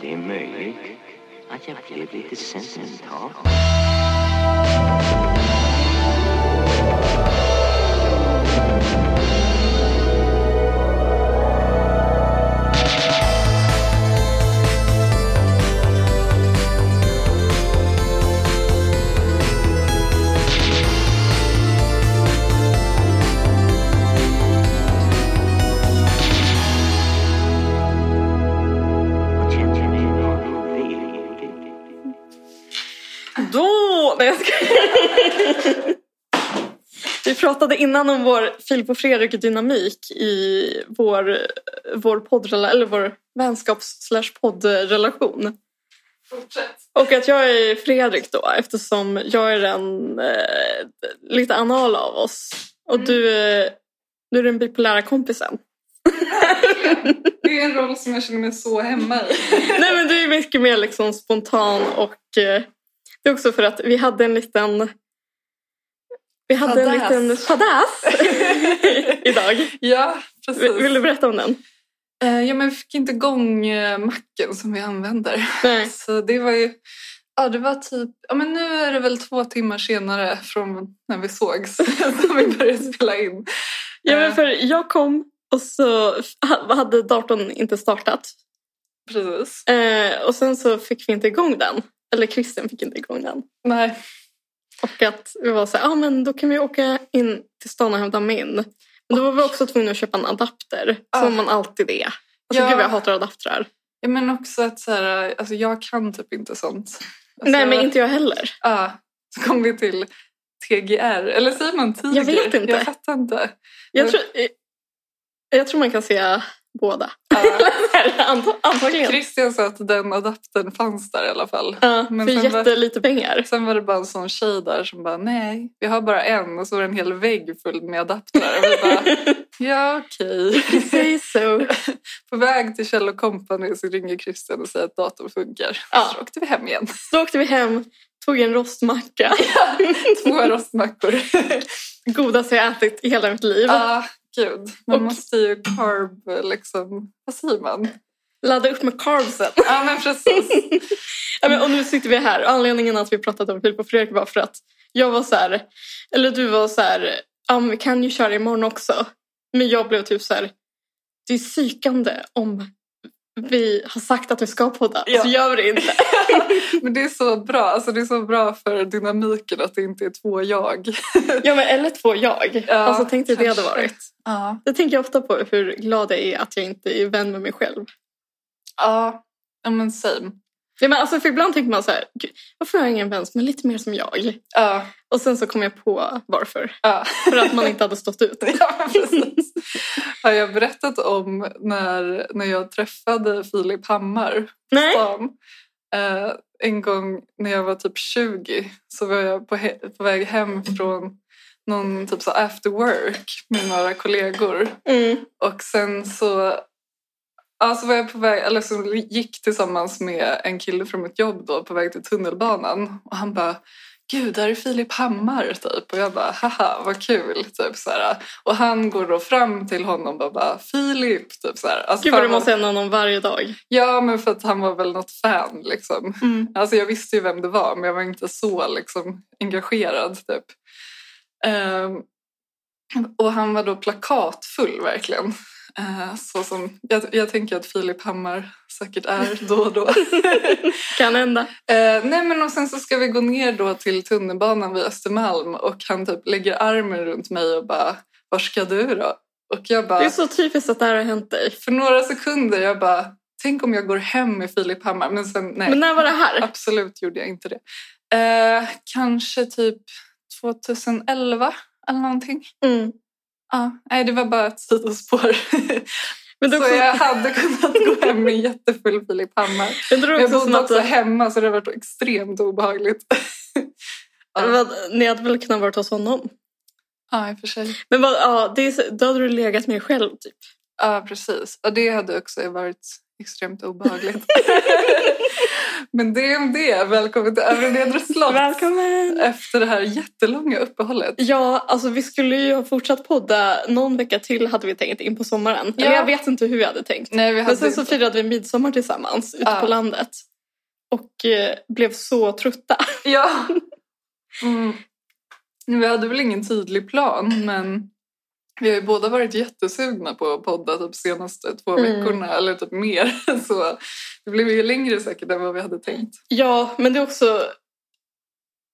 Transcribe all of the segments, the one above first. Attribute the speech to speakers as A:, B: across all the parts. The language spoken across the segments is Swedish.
A: Det är möjligt att jag blev lite sentimental. Jag känner mig velig.
B: Då! Nej, jag skojar. Vi pratade innan om vår Filip och Fredrik-dynamik i vår, vår, poddrela- eller vår vänskaps slash poddrelation.
C: Fortsätt.
B: Och att jag är Fredrik då eftersom jag är den eh, lite anala av oss. Och
C: Mm.
B: du, är- du är den bipolära kompisen.
C: Det är en roll som jag känner mig så hemma i.
B: Nej men du är mycket mer liksom spontan och eh, det är också för att vi hade en liten vi hade en
C: Fadäs.
B: liten fadäs idag.
C: Ja,
B: Vill, vill du berätta om den?
C: Eh, Ja, men vi fick inte igång eh, macken som vi använder.
B: Nej.
C: Så det var ju... Ja, det var typ... Ja, men nu är det väl två timmar senare från när vi sågs som vi började spela in.
B: Ja, men
C: Eh,
B: för jag kom och så ha- hade datorn inte startat.
C: Precis.
B: Eh, och sen så fick vi inte igång den. Eller Christian fick inte igång den.
C: Nej.
B: Och att vi var så här, ah, men då kan vi åka in till stan och hämta min. Men då var vi också tvungna att köpa en adapter.
C: Ah.
B: Som man alltid är. Alltså
C: Ja.
B: gud vad jag hatar adaptrar.
C: Ja, men också att så här, alltså jag kan typ inte sånt. Alltså,
B: Nej men
C: jag-
B: inte jag heller.
C: Ja, så kom vi till TGR. Eller säger man tiger?
B: Jag vet inte.
C: Jag fattar inte.
B: Jag tror, eh, jag tror man kan säga båda.
C: Ja.
B: Anta- Antagligen.
C: Christian sa att den adaptern fanns där i alla fall.
B: Ja,
C: Men
B: för
C: sen var-
B: jättelite pengar.
C: Sen var det bara en sån tjej där som bara nej, vi har bara en och så var det en hel vägg full med adaptrar. Och vi bara ja okej.
B: Say so.
C: På väg till Kjell Company så ringer Christian och säger att datorn funkar.
B: Ja.
C: Så åkte vi hem igen.
B: Så åkte vi hem, tog en rostmacka.
C: Två rostmackor.
B: Godaste jag ätit i hela mitt liv.
C: Ja, gud. Man
B: Och-
C: måste ju carb liksom, vad säger man?
B: Ladda upp med carbsen.
C: Ja men precis.
B: Ja, men, och nu sitter vi här. Och Anledningen att vi pratade om Filip och Fredrik var för att jag var så här, eller du var så här, ja men vi kan ju köra imorgon också. Men jag blev typ så här, det är psykande om vi har sagt att vi ska podda,
C: Ja.
B: så gör vi det inte.
C: Men det är så bra, alltså det är så bra för dynamiken att det inte är två jag.
B: Ja, men, eller två jag.
C: Ja,
B: alltså tänk dig det hade
C: kanske.
B: varit.
C: Ja.
B: Det tänker jag ofta på hur glad jag är att jag inte är vän med mig själv.
C: Ja, ja men same.
B: Ja, men alltså, för ibland tänker man så här, "Gud, varför har jag ingen vän som är lite mer som jag?
C: Ja,
B: Och sen så kom jag på varför.
C: ja.
B: För att man inte hade stått ut.
C: Ja, men precis. Har jag berättat om när, när jag träffade Filip Hammar
B: Nej.
C: stan? Eh, en gång när jag var typ 20 så var jag på, he- på väg hem från någon typ så after work med några kollegor.
B: Mm.
C: Och sen så alltså var jag på väg, eller så gick tillsammans med en kille från mitt jobb då på väg till tunnelbanan och han bara Gud, där är Filip Hammar typ. Och jag bara haha vad kul typ så här. Och han går då fram till honom och bara Filip typ så här. Alltså,
B: Gud vad du
C: fan,
B: måste säga någon om varje dag.
C: Ja men för att han var väl något fan liksom.
B: Mm.
C: Alltså jag visste ju vem det var men jag var inte så liksom, engagerad typ. Ehm, och han var då plakatfull verkligen. Eh, så som, jag, jag tänker att Filip Hammar säkert är då och då.
B: Kan hända.
C: Eh, nej men och sen så ska vi gå ner då till tunnelbanan vid Östermalm och han typ lägger armen runt mig och bara Var ska du då? Och jag bara
B: Det är så typiskt att det här har hänt dig.
C: för några sekunder jag bara Tänk om jag går hem med Filip Hammar men sen nej.
B: Men när var det här?
C: Absolut gjorde jag inte det. Eh, kanske typ 2011 eller någonting.
B: Mm.
C: Ja, nej, det var bara ett sidospår.
B: Men det är
C: så
B: också,
C: jag hade kunnat gå hem med en jättefull Filip Hammar.
B: jag tror
C: Men jag
B: också som
C: bodde
B: att
C: också hemma så det var extremt obehagligt.
B: ja.
C: ja.
B: vad, ni hade väl kunnat varit hos honom.
C: ja, i och för sig.
B: Men vad, ja, det är, så- då hade du legat med dig själv typ.
C: Ja, precis. Och det hade också varit extremt obehagligt. Men det är det. Välkommen till Övre Nedre Slott.
B: Välkommen!
C: Efter det här jättelånga uppehållet.
B: Ja, alltså vi skulle ju ha fortsatt podda någon vecka till hade vi tänkt in på sommaren.
C: Ja.
B: Eller jag vet inte hur vi hade tänkt.
C: Nej, vi hade
B: Men sen så firade vi midsommar tillsammans ute
C: Ja.
B: på landet. Och eh, blev så trötta.
C: Ja. Mm. Vi hade väl ingen tydlig plan, men vi har ju båda varit jättesugna på att podda typ senaste två
B: Mm.
C: veckorna, eller typ mer. Så det blev ju längre säkert än vad vi hade tänkt.
B: Ja, men det är också...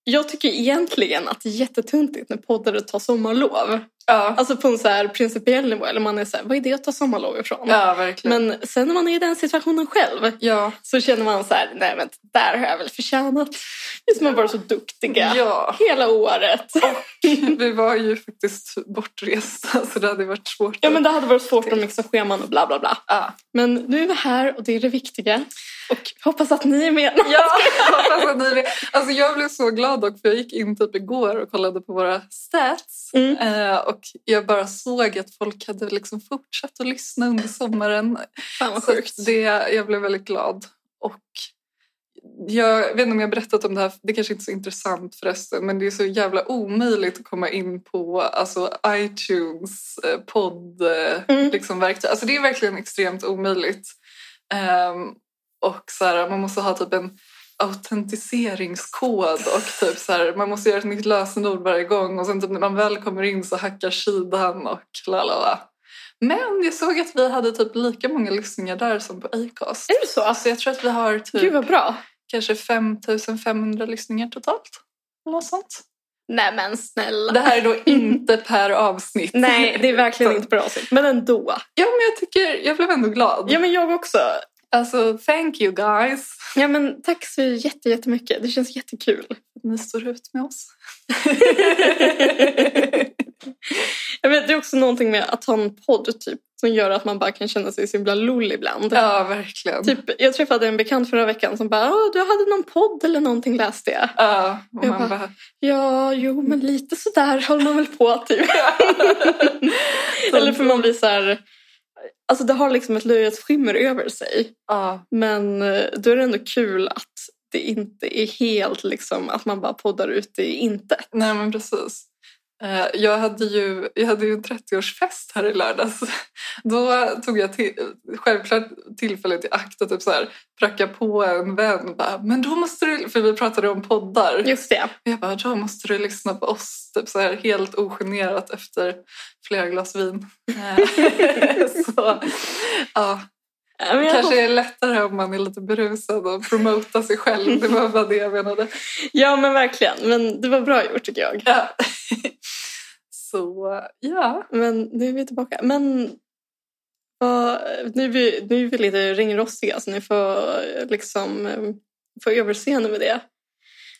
B: Jag tycker egentligen att det är jättetuntigt när poddare tar sommarlov.
C: Ja,
B: Alltså på en så här principiell nivå. Eller man är så här, vad är det att ta sommarlov ifrån?
C: ja verkligen.
B: Men sen när man är i den situationen själv
C: ja.
B: så känner man så här, nej men det där har jag väl förtjänat. Visst är man bara så duktiga
C: ja,
B: hela året.
C: vi var ju faktiskt bortresta så det hade varit svårt.
B: Ja men det hade varit svårt att mixa scheman och bla bla bla.
C: ja.
B: Men nu är vi här och det är det viktiga. Och hoppas att ni är med.
C: Ja, hoppas att ni vet. Alltså jag blev så glad dock för jag gick in typ igår och kollade på våra stats
B: Mm.
C: Eh, och jag bara såg att folk hade liksom fortsatt att lyssna under sommaren.
B: Fan vad
C: Så
B: sjukt.
C: Det, jag blev väldigt glad. Och jag vet inte om jag har berättat om det här, det kanske inte är så intressant förresten, men det är så jävla omöjligt att komma in på alltså, iTunes eh, podd eh,
B: Mm.
C: liksom, verktyg. Alltså det är verkligen extremt omöjligt. Ehm, och så här, man måste ha typ en autentiseringskod och typ så här, man måste göra ett nytt lösenord varje gång och sen typ när man väl kommer in så hackar sidan och la la la. Men jag såg att vi hade typ lika många lyssningar där som på Acast.
B: Är det så?
C: Alltså jag tror att vi har typ
B: Gud vad bra.
C: kanske 5500 lyssningar totalt. Eller något sånt.
B: Nej men snälla.
C: Det här är då inte per avsnitt.
B: Nej det är verkligen inte bra avsnitt. Men ändå.
C: Ja men jag tycker, jag blev ändå glad.
B: Ja men jag också.
C: Alltså thank you guys.
B: Ja men tack så jätte- jättemycket. Det känns jättekul.
C: Ni står ut med oss.
B: Jag vet, det är också någonting med att ha en podd typ, som gör att man bara kan känna sig så himla lull ibland.
C: Ja verkligen.
B: Typ, jag träffade en bekant förra veckan som bara "Ah, du hade någon podd eller någonting läste jag.
C: Ja, och
B: Jag
C: man
B: bara-
C: bara...
B: Ja, jo men lite sådär håller man väl på typ. eller för man blir så här, alltså det har liksom ett löjets skimmer över sig.
C: Ja,
B: Men eh, då är det ändå kul att det inte är helt liksom att man bara poddar ut i intet.
C: nej men precis. Eh, Jag hade ju, jag hade ju en 30-årsfest här i lördags. Då tog jag till, självklart tillfället i akt att typ så här, pracka på en vän. Bara, men då måste du, för vi pratade om poddar.
B: Just det.
C: Och Jag bara, då måste du lyssna på oss. Typ så här, helt ogenerat efter flera glas vin. Eh, så, ja,
B: Ja, men jag
C: kanske är lättare om man är lite berusad och promota sig själv. Det var bara det jag menade.
B: Ja men verkligen, men det var bra gjort tycker jag.
C: Ja. Så ja.
B: Men nu är vi tillbaka. Men vad- nu, är vi, nu är vi lite ringrostiga så ni får eh, liksom eh, få överseende med det.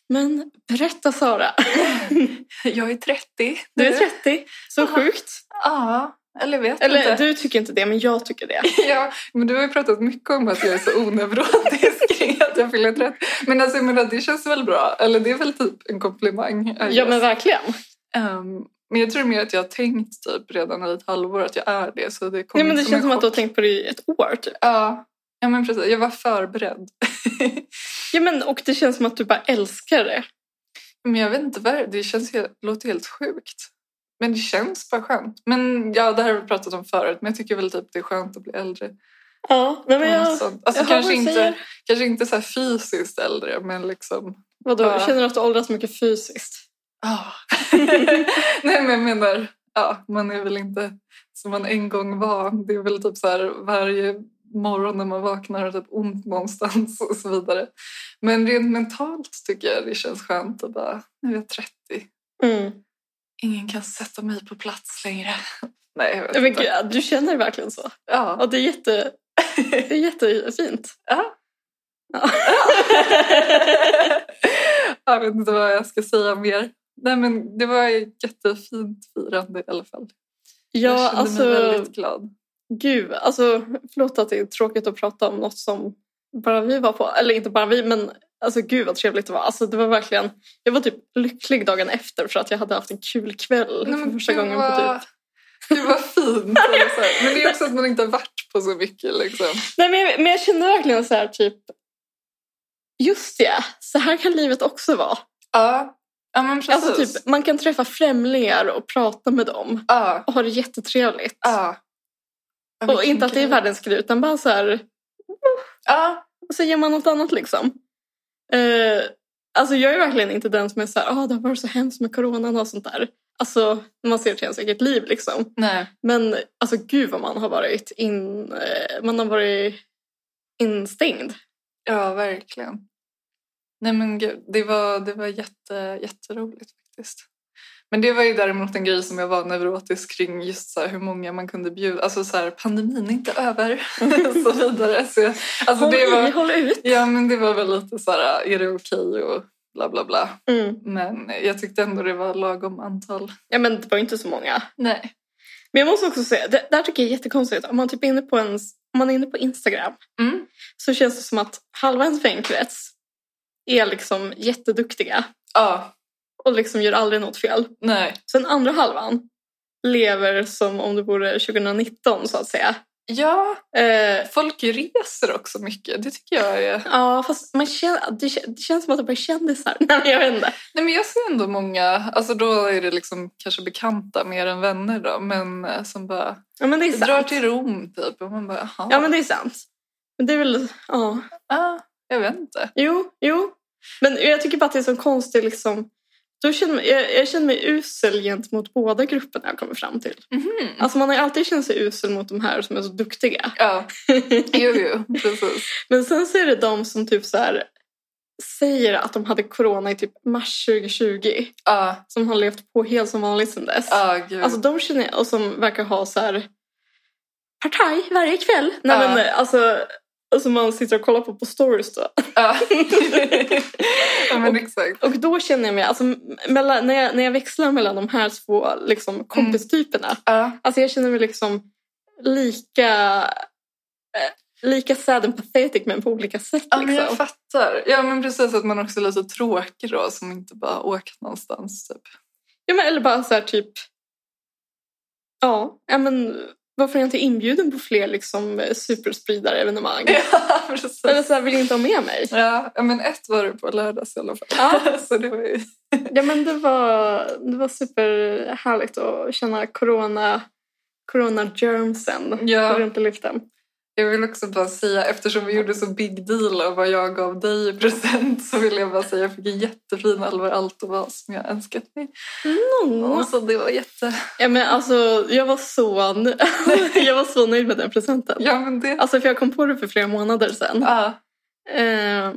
B: Men berätta Sara,
C: Jag är 30.
B: du är 30, så
C: Aha.
B: sjukt.
C: Ja, eller vet
B: Eller
C: inte.
B: du tycker inte det men jag tycker det.
C: Ja, men du har ju pratat mycket om att jag är så oneurotisk kring att jag fyller 30. Men alltså jag menar, det känns väl bra? Eller det är väl typ en komplimang? I
B: Ja
C: guess.
B: men verkligen.
C: Ehm, men jag tror mer att jag har tänkt typ redan i ett halvår att jag är det. Så det kommer
B: Nej, men det
C: en
B: känns som att
C: chock.
B: du har tänkt på det i ett år typ.
C: Ja, ja men precis. Jag var förberedd.
B: Ja, men, och det känns som att du bara älskar det.
C: Men jag vet inte vad det- det känns. helt- Det låter helt sjukt. Men det känns bara skönt. Men ja, det här har vi pratat om förut. Men jag tycker väl typ det är skönt att bli äldre.
B: Ja, nej, men
C: Och
B: jag,
C: något sånt. alltså,
B: jag hör
C: kanske,
B: vad du
C: inte,
B: säger.
C: kanske inte så här fysiskt äldre, men liksom...
B: vadå,
C: Ja.
B: känner du att du åldras mycket fysiskt?
C: ah. Nej, men jag menar... Ja, man är väl inte som man en gång var. Det är väl typ så här varje morgon när man vaknar och typ ont någonstans och så vidare. Men rent mentalt tycker jag det känns skönt att bara, nu är jag 30.
B: Mm.
C: Ingen kan sätta mig på plats längre. Nej, jag vet
B: Nej, Men,
C: inte.
B: gud, du känner verkligen så.
C: Ja.
B: Ja, det är, jätte, det är jättefint.
C: Ja.
B: Ja.
C: jag vet inte vad jag ska säga mer. Nej, men det var ett jättefint firande i alla fall. jag
B: Ja,
C: kände
B: alltså,
C: mig väldigt glad.
B: gud, alltså, förlåt att det är tråkigt att prata om något som bara vi var på. Eller inte bara vi, men alltså, gud vad trevligt det var. Alltså, det var verkligen, jag var typ lycklig dagen efter för att jag hade haft en kul kväll
C: Nej,
B: för första
C: gud,
B: gången på
C: vad-
B: typ.
C: Gud vad fint. eller så här. Men det är också att man inte har varit på så mycket. Liksom.
B: Nej, men, jag, men jag kände verkligen så här typ... just det, så här kan livet också vara.
C: Ja, ja men precis.
B: Alltså typ, man kan träffa främlingar och prata med dem
C: ja,
B: och ha det jättetrevligt.
C: ja. Ja,
B: Och
C: vilken
B: inte att det är
C: grej.
B: världens grej utan bara så här,
C: Ja,
B: och så ger man något annat liksom. Eh, alltså jag är verkligen inte den som är så här, ah, det har varit så hemskt med coronan och sånt där. Alltså man ser till ens eget liv liksom.
C: nej.
B: Men alltså gud vad man har varit in, eh, man har varit instängd.
C: Ja, verkligen. Nej men gud, det var, det var jätte, jätteroligt faktiskt. Men det var ju däremot en grej som jag var neurotisk kring just så här hur många man kunde bjuda. Alltså så här, pandemin är inte över och så vidare. Så jag, alltså
B: Håll
C: det
B: i,
C: var,
B: håll ut!
C: ja men det var väl lite så här, är det okej och bla bla bla.
B: Mm.
C: Men jag tyckte ändå det var lagom antal.
B: Ja men det var ju inte så många.
C: Nej.
B: Men jag måste också säga, det där tycker jag är jättekonstigt. Om man, typ är inne på ens, om man är inne på Instagram
C: Mm.
B: så känns det som att halva ens vänkrets är liksom jätteduktiga
C: Ja,
B: och liksom gör aldrig något fel.
C: nej.
B: Sen andra halvan lever som om det vore 2019 så att säga.
C: Ja,
B: Eh,
C: folk reser också mycket. Det tycker jag är...
B: ja fast man känner, det, kän- det känns som att det bara är kändisar. Nej men jag vet inte.
C: Nej, men jag ser ändå många, alltså då är det liksom kanske bekanta mer än vänner då, men eh, som bara
B: Ja men det är
C: drar
B: sant.
C: till Rom typ och man bara jaha,
B: Ja men det är sant. Men det är väl, ja.
C: ah, jag vet inte.
B: Jo, jo. Men jag tycker bara att det är så konstigt liksom. Då känner, man- jag, jag känner mig usel gentemot båda grupperna jag kommer fram till.
C: Mhm.
B: Alltså man har ju alltid känt sig usel mot de här som är så duktiga.
C: Ja, jo, jo, precis.
B: Men sen så är det de som typ så här säger att de hade corona i typ mars 2020.
C: Ja,
B: Som har levt på helt som vanligt sedan dess.
C: ja, gud.
B: Alltså de känner jag, och som verkar ha så här partaj varje kväll. Nej
C: Ja.
B: men alltså, alltså man sitter och kollar på på stories då.
C: ja. ja, men exakt.
B: Och då känner jag mig, alltså, mellan, när, jag, när jag växlar mellan de här två
C: Mm.
B: liksom, kompistyperna,
C: Ja,
B: alltså jag känner mig liksom lika, eh, lika sad and pathetic men på olika sätt.
C: ja men jag
B: liksom.
C: fattar. Ja, men precis att man också är lite tråkig då som inte bara åkt någonstans typ.
B: ja, men, eller bara så här typ, ja, ja men varför är jag inte inbjuden på fler liksom, eh, superspridare-evenemang?
C: Ja, precis.
B: Eller så här, vill inte ha med mig?
C: Ja, ja, men ett var det på lördags i alla fall.
B: Ja.
C: Så det var ju...
B: Ja, men det var, det var superhärligt att känna corona, corona-germsen
C: Ja.
B: runt i luften.
C: Jag vill också bara säga, eftersom vi gjorde så big deal av vad jag gav dig i present så vill jag bara säga att jag fick en jättefin Alvar Aalto-vas som jag önskat mig.
B: Mm.
C: Och Så det var jätte...
B: Ja, men alltså, jag, var så, jag var så nöjd med den presenten.
C: Ja, men det...
B: Alltså, för jag kom på det för flera månader sedan.
C: Ja,
B: Ehm,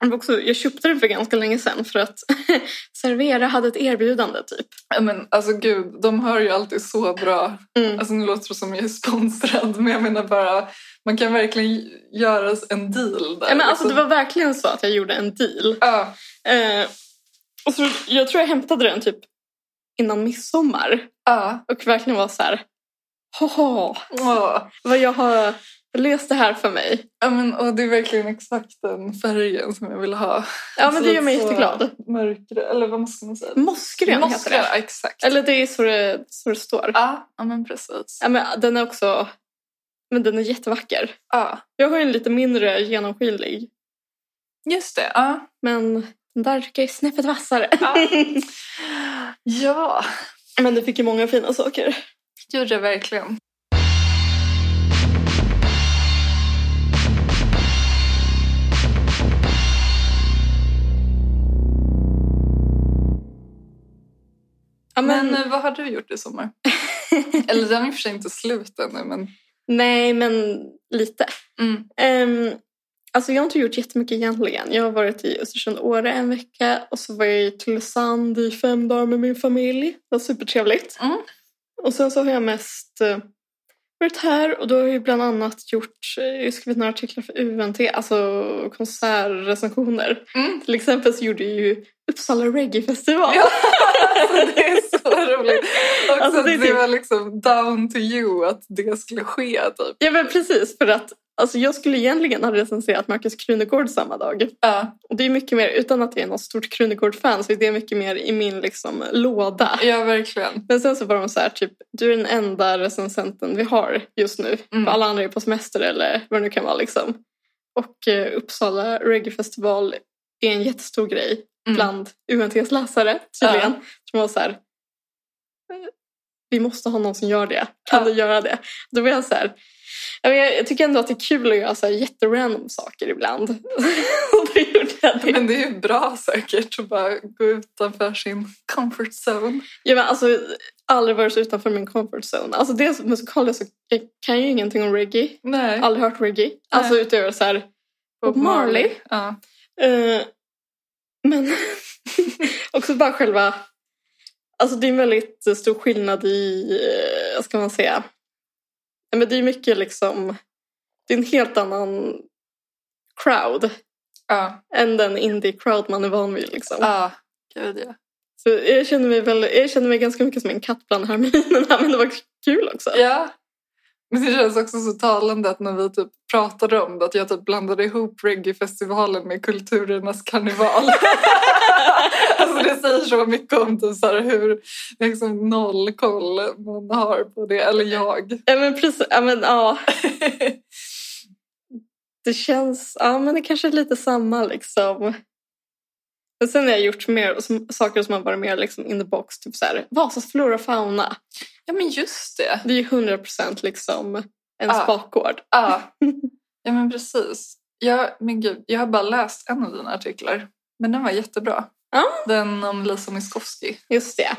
B: det var också, jag köpte den för ganska länge sedan för att Servera hade ett erbjudande typ.
C: Ja, men alltså gud, de hör ju alltid så bra.
B: Mm.
C: Alltså nu låter det som jag är sponsrad men jag menar bara, man kan verkligen göra en deal där.
B: Ja, men alltså, det
C: liksom.
B: var verkligen så att jag gjorde en deal.
C: Ja,
B: Ehm, och så, jag tror jag hämtade den typ innan midsommar
C: ja,
B: och verkligen var så här, haha,
C: ja.
B: vad jag har löst det här för mig.
C: Ja, men, och det är verkligen exakt den färgen som jag vill ha.
B: Ja, men
C: Så-
B: det gör mig
C: så
B: jätteglad.
C: Mörkgrön, eller vad ska man säga?
B: Mossgrön heter det.
C: Mossgrön, exakt.
B: Eller det är så det, så det står.
C: Ja, ja men precis.
B: Ja, men den är också men den är jättevacker.
C: Ja,
B: Jag har ju en lite mindre genomskinlig,
C: just det. Ja.
B: men den där tycker jag är snäppet vassare.
C: Ja. ja,
B: men du fick ju många fina saker.
C: gjorde jag verkligen.
B: Ja,
C: Men,
B: men,
C: eh, vad har du gjort i sommar? Eller den är i och för sig inte slut ännu, men...
B: nej, men lite.
C: Mm.
B: Um, alltså jag har inte gjort jättemycket egentligen. Jag har varit i Östersund och Åre en vecka och så var jag i Tylösand i fem dagar med min familj. Det var supertrevligt.
C: Mm.
B: Och sen så har jag mest eh, varit här och då har jag ju bland annat gjort, eh, jag har skrivit några artiklar för UNT, alltså konsertrecensioner.
C: Mm.
B: Till exempel så gjorde jag ju Uppsala Reggae-festival.
C: Ja, alltså, det är så roligt. Också
B: Alltså, det
C: det,
B: är typ-
C: var liksom down to you att det skulle ske, typ.
B: Ja men precis, för att alltså, jag skulle egentligen ha recenserat Markus Krunegård samma dag.
C: Ja,
B: Och det är mycket mer, utan att jag är något stort Krunegård-fan, så är det mycket mer i min liksom, låda.
C: ja verkligen.
B: Men sen så var de så här, typ, du är den enda recensenten vi har just nu.
C: Mm.
B: För alla andra är på semester eller vad det nu kan vara. Liksom. Och eh, Uppsala reggaefestival är en jättestor grej
C: Mm.
B: bland UNTs läsare tydligen. Som var så här, eh, vi måste ha någon som gör det. Kan
C: Ja.
B: du göra det? Då var jag så här, jag, vet, jag tycker ändå att det är kul att göra så här jätterandom saker ibland. Och då gjorde jag det.
C: Men det är ju bra säkert att bara gå utanför sin comfort zone.
B: Jag har alltså, aldrig varit så utanför min comfort zone. Alltså dels musikaliskt så jag kan ju ingenting om reggae.
C: Nej.
B: Aldrig hört reggae. Alltså utöver så här Bob Marley.
C: Ja.
B: Eh, men också bara själva... Alltså det är en väldigt stor skillnad i, eh, vad ska man säga? Nej, Men det är mycket liksom, det är en helt annan crowd
C: Ja.
B: än den indie-crowd man är van vid. Liksom.
C: ja. Gud ja.
B: Så jag, känner mig väl, jag känner mig ganska mycket som en katt bland hermelinerna men det var kul också.
C: Ja. Men det känns också så talande att när vi typ pratade om det att jag typ blandade ihop reggaefestivalen med kulturernas karneval. alltså det säger så mycket om typ så här hur liksom noll koll man har på det, eller jag.
B: Ja, men precis, ja, men, ja. Det känns, ja men det kanske är lite samma liksom. Men sen har jag gjort mer som, saker som har varit mer liksom in the box. Typ så här, Vasas flora och fauna.
C: Ja men just det.
B: Det är ju 100% liksom ens
C: Ja.
B: bakgård.
C: Ja, ja men precis. Jag, men gud, jag har bara läst en av dina artiklar, men den var jättebra.
B: Ja.
C: Den om Lisa Miskovsky.
B: Just det.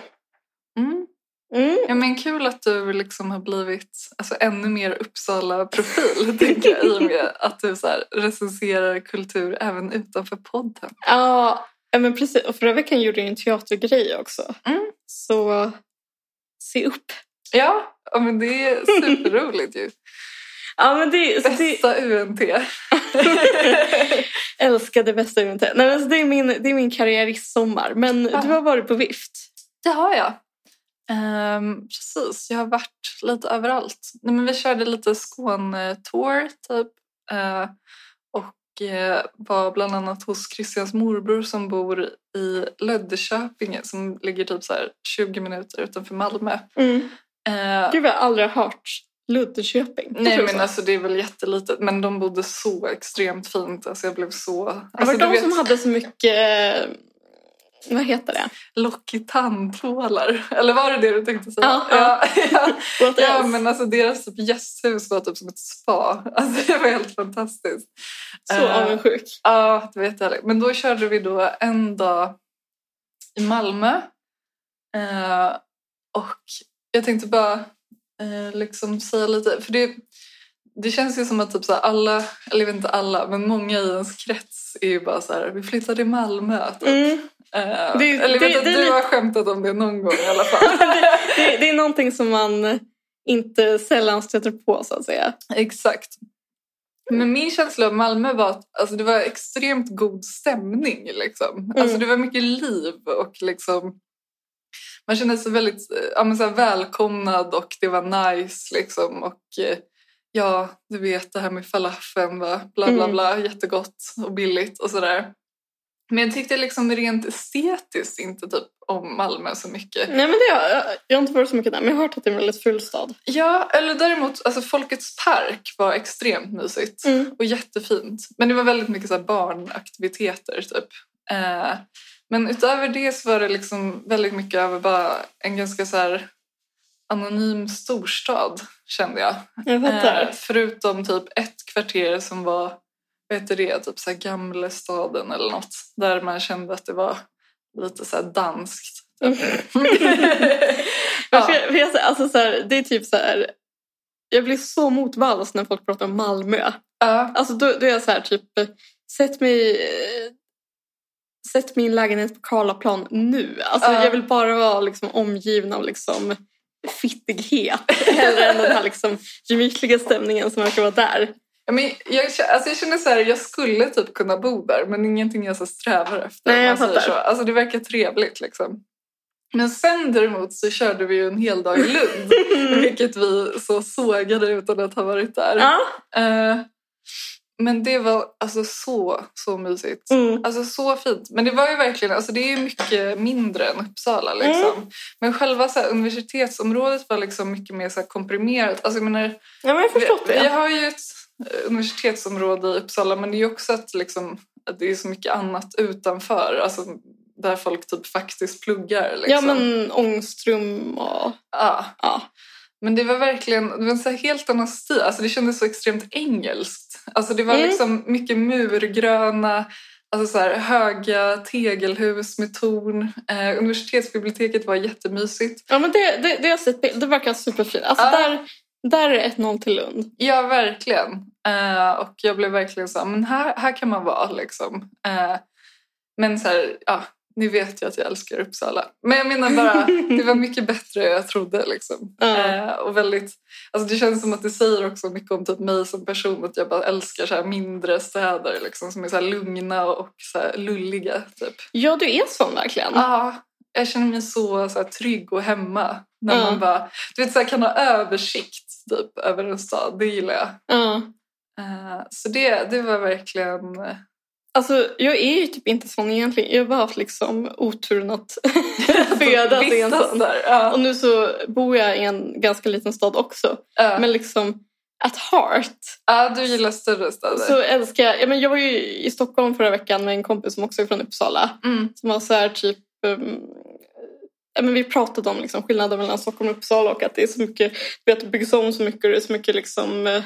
C: Mm.
B: Mm.
C: Ja, men kul att du liksom har blivit alltså, ännu mer Uppsala-profil tänker jag, i och med att du så här, recenserar kultur även utanför podden.
B: Ja, ja, men precis. Och förra veckan gjorde jag ju en teatergrej också.
C: Mm.
B: Så se upp.
C: Ja, ja men det är superroligt ju.
B: Ja, men det, så det,
C: Bästa UNT.
B: älskar det bästa eventet. Nej, men så det är min, det är min karriäristsommar. Men
C: Ja.
B: du har varit på vift.
C: Det har jag. Ehm, precis, jag har varit lite överallt. Nej, men vi körde lite Skåne-tour typ. Eh, och eh, var bland annat hos Christians morbror som bor i Löddeköpinge som ligger typ så här 20 minuter utanför Malmö. Eh,
B: Gud vad jag aldrig har hört Luddeköping.
C: Nej men alltså det är väl jättelitet men de bodde så extremt fint. Alltså jag blev så...
B: det var
C: Alltså,
B: de
C: du vet,
B: som hade så mycket... eh, Vad heter det?
C: lockig tandtvålar. Eller var det det du tänkte säga?
B: Ja, ja.
C: ja.
B: What
C: Ja,
B: else?
C: men alltså deras typ gästhus var typ som ett spa. Alltså det var helt fantastiskt.
B: Så
C: eh,
B: avundsjuk.
C: Ja, det vet jag. Men då körde vi då en dag i Malmö. Eh, och jag tänkte bara eh, liksom säga lite, för det, det känns ju som att typ så här alla, eller jag vet inte alla, men många i ens krets är ju bara så här, vi flyttar till Malmö. Typ.
B: Mm.
C: Eh,
B: Det-
C: eller jag vet
B: det-
C: att
B: det är
C: du
B: lite-
C: har skämtat om det någon gång i alla fall.
B: Det, det är någonting som man inte sällan stöter på så att säga.
C: Exakt. Men min känsla av Malmö var att alltså, det var extremt god stämning. Liksom. Alltså, det var mycket liv och liksom, man kände sig väldigt eh, ja, men, så här, välkomnad och det var nice. Liksom. Och eh, ja, du vet det här med falafeln, va? bla bla
B: Mm.
C: bla, jättegott och billigt och sådär. Men jag tyckte liksom rent estetiskt inte typ om Malmö så mycket.
B: Nej men det har, jag- jag har inte varit så mycket där men jag har hört att det är en väldigt ful stad.
C: Ja, eller däremot, alltså Folkets park var extremt mysigt.
B: Mm.
C: och jättefint. Men det var väldigt mycket så här barnaktiviteter typ. Eh, men utöver det så var det liksom väldigt mycket över bara en ganska så här anonym storstad kände jag.
B: Jag fattar.
C: Eh, förutom typ ett kvarter som var, vad heter det, typ så här gamla staden eller något. Där man kände att det var lite så här danskt.
B: Eh. Men Mm.
C: ja.
B: för jag- för jag, alltså, så här, det är typ så här... Jag blir så motvalls när folk pratar om Malmö.
C: Ja.
B: Alltså då, då är jag så här typ, eh, sätt mig... eh, Sätt min lägenhet på Karlaplan nu. Alltså,
C: Ja.
B: Jag vill bara vara liksom, omgiven av liksom, fittighet. Hellre än den här liksom, gemytliga stämningen som verkar vara där.
C: Ja, Men jag, kä- alltså jag känner så här, jag skulle typ kunna bo där men ingenting jag så strävar efter.
B: Nej,
C: om
B: jag
C: man säger
B: fattar.
C: så. Alltså det verkar trevligt liksom. Men sen däremot så körde vi ju en hel dag i Lund. vilket vi så sågade utan att ha varit där.
B: Ja.
C: Eh, men det var alltså så, så mysigt.
B: Mm.
C: Alltså så fint. Men det var ju verkligen, alltså det är ju mycket mindre än Uppsala liksom.
B: Mm.
C: Men själva så här, universitetsområdet var liksom mycket mer så här komprimerat. Alltså jag menar,
B: ja men jag har förstått
C: vi, vi
B: det.
C: har ju ett eh, universitetsområde i Uppsala men det är ju också att, liksom, att det är så mycket annat utanför. Alltså, där folk typ faktiskt pluggar. Liksom.
B: Ja, men ångström och...
C: Ja.
B: Ja.
C: Men det var verkligen det var en så här helt annan stil. Alltså det kändes så extremt engelskt. Alltså det var
B: Mm.
C: liksom mycket murgröna, alltså så här höga tegelhus med torn. Eh, universitetsbiblioteket var jättemysigt.
B: Ja, men det, det, det har jag sett bild. Det verkar superfint. Alltså,
C: Ja.
B: där, där är ett noll till Lund.
C: Ja, verkligen. Eh, och jag blev verkligen så här, men här, här kan man vara liksom. Eh, men så här, ja, ni vet ju att jag älskar Uppsala. Men jag menar bara, det var mycket bättre än jag trodde liksom.
B: Ja.
C: Eh, och väldigt, alltså det känns som att det säger också mycket om typ mig som person att jag bara älskar så här mindre städer liksom som är så här lugna och så här lulliga typ.
B: Ja, du är sån verkligen.
C: Ja, jag känner mig så, så här, trygg och hemma. När
B: Ja.
C: man bara, du vet, så här, kan ha översikt typ över en stad, det gillar jag.
B: Ja.
C: Eh, Så det, det var verkligen... eh,
B: Alltså, jag är ju typ inte sån egentligen. Jag har bara haft liksom oturen att födas i en
C: Vistas
B: sån.
C: där. Ja.
B: Och nu så bor jag i en ganska liten stad också.
C: Ja.
B: Men liksom, at heart
C: ja, du gillar större städer.
B: så älskar jag... Ja, men jag var ju i Stockholm förra veckan med en kompis som också är från Uppsala.
C: Mm.
B: Som var så här typ... ehm, ja, men vi pratade om liksom skillnaden mellan Stockholm och Uppsala och att det är så mycket... Du vet, det byggs om så mycket och det är så mycket liksom eh,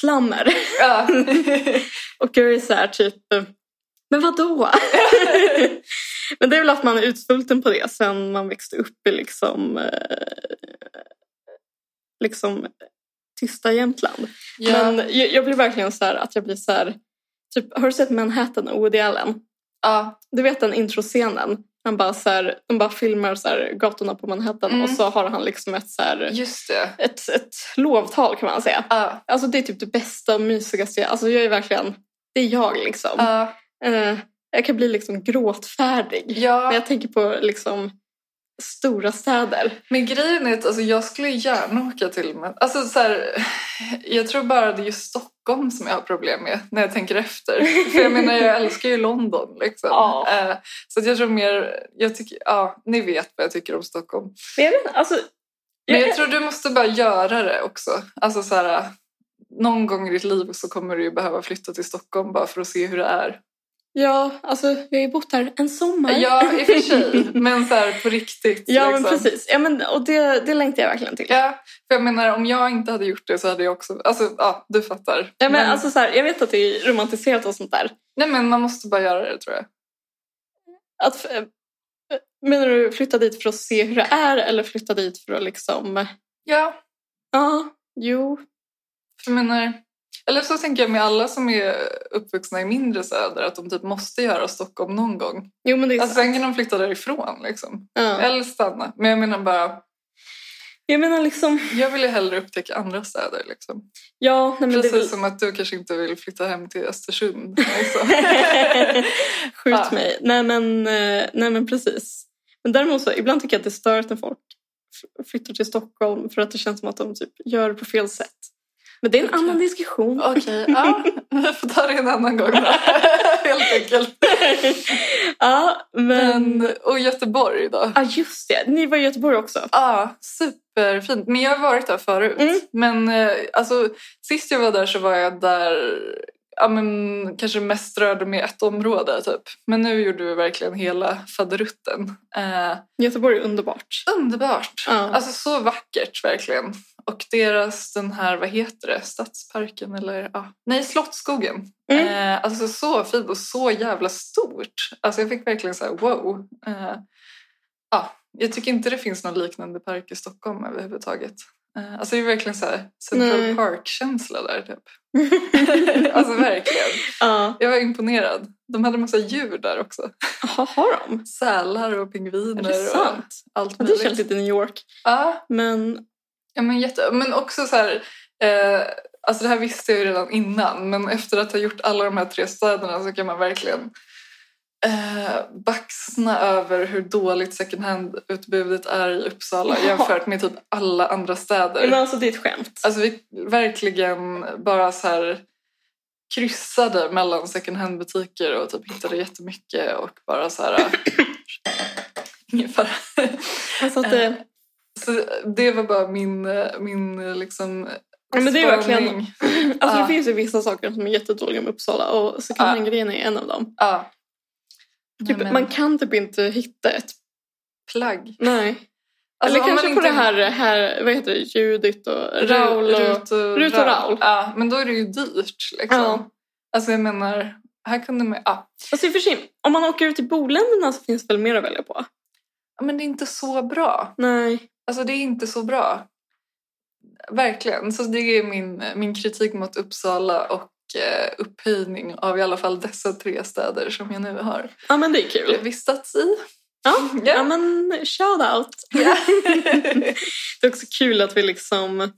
B: slammer.
C: Ja.
B: Och jag är så här typ, eh, men vad då? men det är väl att man är utsvulten på det sen man växte upp i liksom, eh, liksom tysta Jämtland.
C: ja.
B: Men jag, jag blir verkligen så här att jag blir så här, typ, har du sett Manhattan och Woody Allen?
C: ja.
B: Du vet den introscenen? Han bara så här, de bara filmar så här gatorna på Manhattan
C: Mm.
B: och så har han liksom ett så här,
C: Just det.
B: ett, ett lovtal kan man säga.
C: Ja.
B: Alltså det är typ det bästa och mysigaste jag, alltså jag är verkligen, det är jag liksom.
C: Ja.
B: Eh, jag kan bli liksom gråtfärdig när
C: Ja.
B: jag tänker på liksom stora städer.
C: Men grejen är att alltså, jag skulle gärna åka till men alltså, så här, Jag tror bara det är just Stockholm som jag har problem med när jag tänker efter. För jag menar, jag älskar ju London. Liksom.
B: Ja.
C: Eh, Så att jag tror mer... Jag tycker, ja, ni vet vad jag tycker om Stockholm.
B: Men jag vet inte, alltså...
C: Men
B: jag-
C: jag tror du måste bara göra det också. Alltså så här, någon gång i ditt liv så kommer du ju behöva flytta till Stockholm bara för att se hur det är.
B: Ja, alltså jag har ju bott här en sommar.
C: Ja, i och för sig. Men så här på riktigt.
B: Mm. ja, men
C: liksom.
B: precis. Ja, men, och det, det längtar jag verkligen till.
C: Ja, för jag menar om jag inte hade gjort det så hade jag också... Alltså, ja, du fattar.
B: Ja, men, Alltså, så här, jag vet att det är romantiserat och sånt där.
C: Nej, men man måste bara göra det tror jag.
B: Att, eh, menar du flytta dit för att se hur det är eller flytta dit för att liksom...
C: Ja,
B: Ja, jo.
C: för jag menar... Eller så tänker jag med alla som är uppvuxna i mindre städer att de typ måste göra Stockholm någon gång.
B: Jo, men det är
C: Alltså, sen kan de flytta därifrån liksom.
B: ja.
C: Eller stanna. Men jag menar bara...
B: Jag menar liksom...
C: Jag vill ju hellre upptäcka andra städer. Liksom.
B: Ja, nej, men det är
C: Precis
B: väl...
C: som att du kanske inte vill flytta hem till Östersund. Liksom.
B: Skjut
C: Ja.
B: mig. Nej men, eh, nej men precis. Men däremot så, ibland tycker jag att det stör att när folk f- flyttar till Stockholm för att det känns som att de typ gör det på fel sätt. Men det är en
C: Okej.
B: annan diskussion.
C: Okej, ja. Vi får ta det en annan gång då. Helt enkelt.
B: ja, men...
C: Men, och Göteborg då?
B: Ja, just det. Ni var i Göteborg också.
C: Ja, superfint. Men jag har varit där förut.
B: Mm.
C: Men eh, alltså, sist jag var där så var jag där ja, men, kanske mest rörde mig ett område. Typ. Men nu gjorde vi verkligen hela faderutten. Eh,
B: Göteborg är underbart.
C: Underbart!
B: Ja.
C: Alltså så vackert verkligen. Och deras den här, vad heter det, stadsparken eller ja, nej Slottsskogen.
B: Mm.
C: Eh, alltså så fint och så jävla stort. Alltså jag fick verkligen så här wow. Eh, ja, jag tycker inte det finns någon liknande park i Stockholm överhuvudtaget. Eh, alltså det är verkligen så här Central
B: Nej.
C: Park-känsla där typ. alltså verkligen.
B: Ja.
C: Jag var imponerad. De hade massa djur där också.
B: Jaha, har de?
C: Sälar och pingviner
B: Är det
C: och
B: sant?
C: allt
B: Ja, det känns lite New York.
C: Ja,
B: Men
C: Ja, men, jätte... men också så här... Eh, alltså det här visste jag ju redan innan, men efter att ha gjort alla de här tre städerna så kan man verkligen eh, baxna över hur dåligt second hand-utbudet är i Uppsala
B: Ja.
C: jämfört med typ alla andra städer.
B: men alltså det är ett skämt.
C: Alltså vi verkligen bara så här kryssade mellan second hand-butiker och typ hittade jättemycket och bara så här... eh, Ingen fara.
B: Alltså att det...
C: Så det var bara min, eh, min eh, liksom,
B: Ja, men det är verkligen...
C: Spaning.
B: Alltså,
C: Ja.
B: det finns ju vissa saker som är jättedåliga med Uppsala och så kan
C: Ja.
B: den grejen är en av dem.
C: Ja.
B: Typ,
C: Nej, men-
B: Man kan typ inte hitta ett...
C: Plagg.
B: Nej.
C: Alltså,
B: Eller
C: om man
B: kanske på
C: inte-
B: det här, här, vad heter det, Judith och Raul och...
C: Rut och,
B: Rut och Raul.
C: Ja, men då är det ju dyrt liksom.
B: Ja.
C: Alltså jag menar, här kunde man ja.
B: Alltså i och för sig, om man åker ut till boländerna så finns det väl mer att välja på?
C: ja, men det är inte så bra.
B: Nej.
C: Alltså det är inte så bra. Verkligen. Så det är min, min kritik mot Uppsala och eh, upphöjning av i alla fall dessa tre städer som jag nu har
B: Ja men det är kul.
C: vistats i.
B: Ja,
C: Ja.
B: ja men shout out.
C: Ja.
B: det är också kul att vi liksom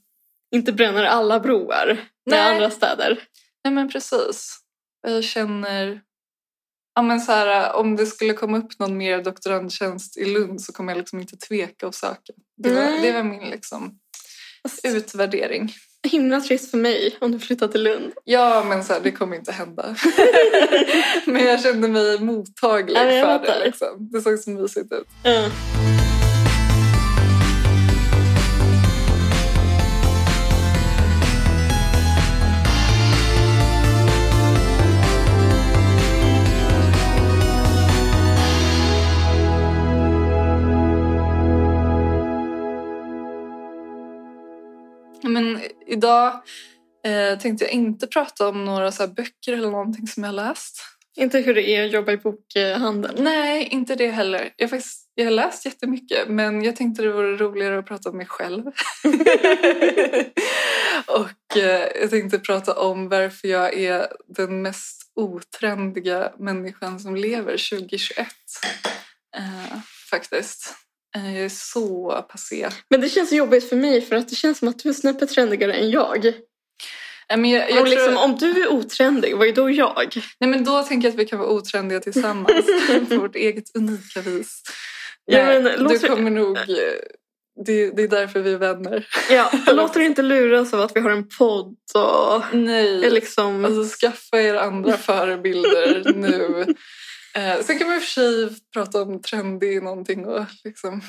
B: inte bränner alla broar med
C: Nej.
B: andra städer.
C: Nej men precis. Och Jag känner... Ja, men så här, om det skulle komma upp någon mer doktorandtjänst i Lund så kommer jag liksom inte tveka att söka. Det var,
B: Nej.
C: det var min liksom,
B: Alltså,
C: utvärdering.
B: Himla trist för mig om du flyttar till Lund.
C: Ja, men så här, det kommer inte hända. men jag kände mig mottaglig
B: Ja, men jag
C: för det.
B: fattar.
C: Liksom. Det såg så mysigt ut.
B: Ja.
C: Men idag eh, tänkte jag inte prata om några så här, böcker eller någonting som jag läst.
B: Inte hur det är att jobba i bokhandeln.
C: Nej, inte det heller. Jag, har faktiskt, jag har läst jättemycket men jag tänkte det vore roligare att prata om mig själv. och eh, jag tänkte prata om varför jag är den mest otrendiga människan som lever 2021. Eh, faktiskt. Eh, jag är så passé.
B: Men det känns jobbigt för mig för att det känns som att du är snäppet trendigare än jag.
C: Eh, men jag,
B: och
C: jag
B: liksom,
C: tror,
B: om du är otrendig, vad är då jag?
C: nej, men då tänker jag att vi kan vara otrendiga tillsammans på vårt eget unika vis.
B: Ja, men
C: Nej,
B: låt-
C: du kommer nog... eh, Det, det är därför vi är vänner.
B: Ja, låt er inte luras av att vi har en podd och...
C: Nej.
B: Eller liksom...
C: Alltså skaffa er andra förebilder nu. Eh, sen kan man i och för sig prata om trendig någonting och liksom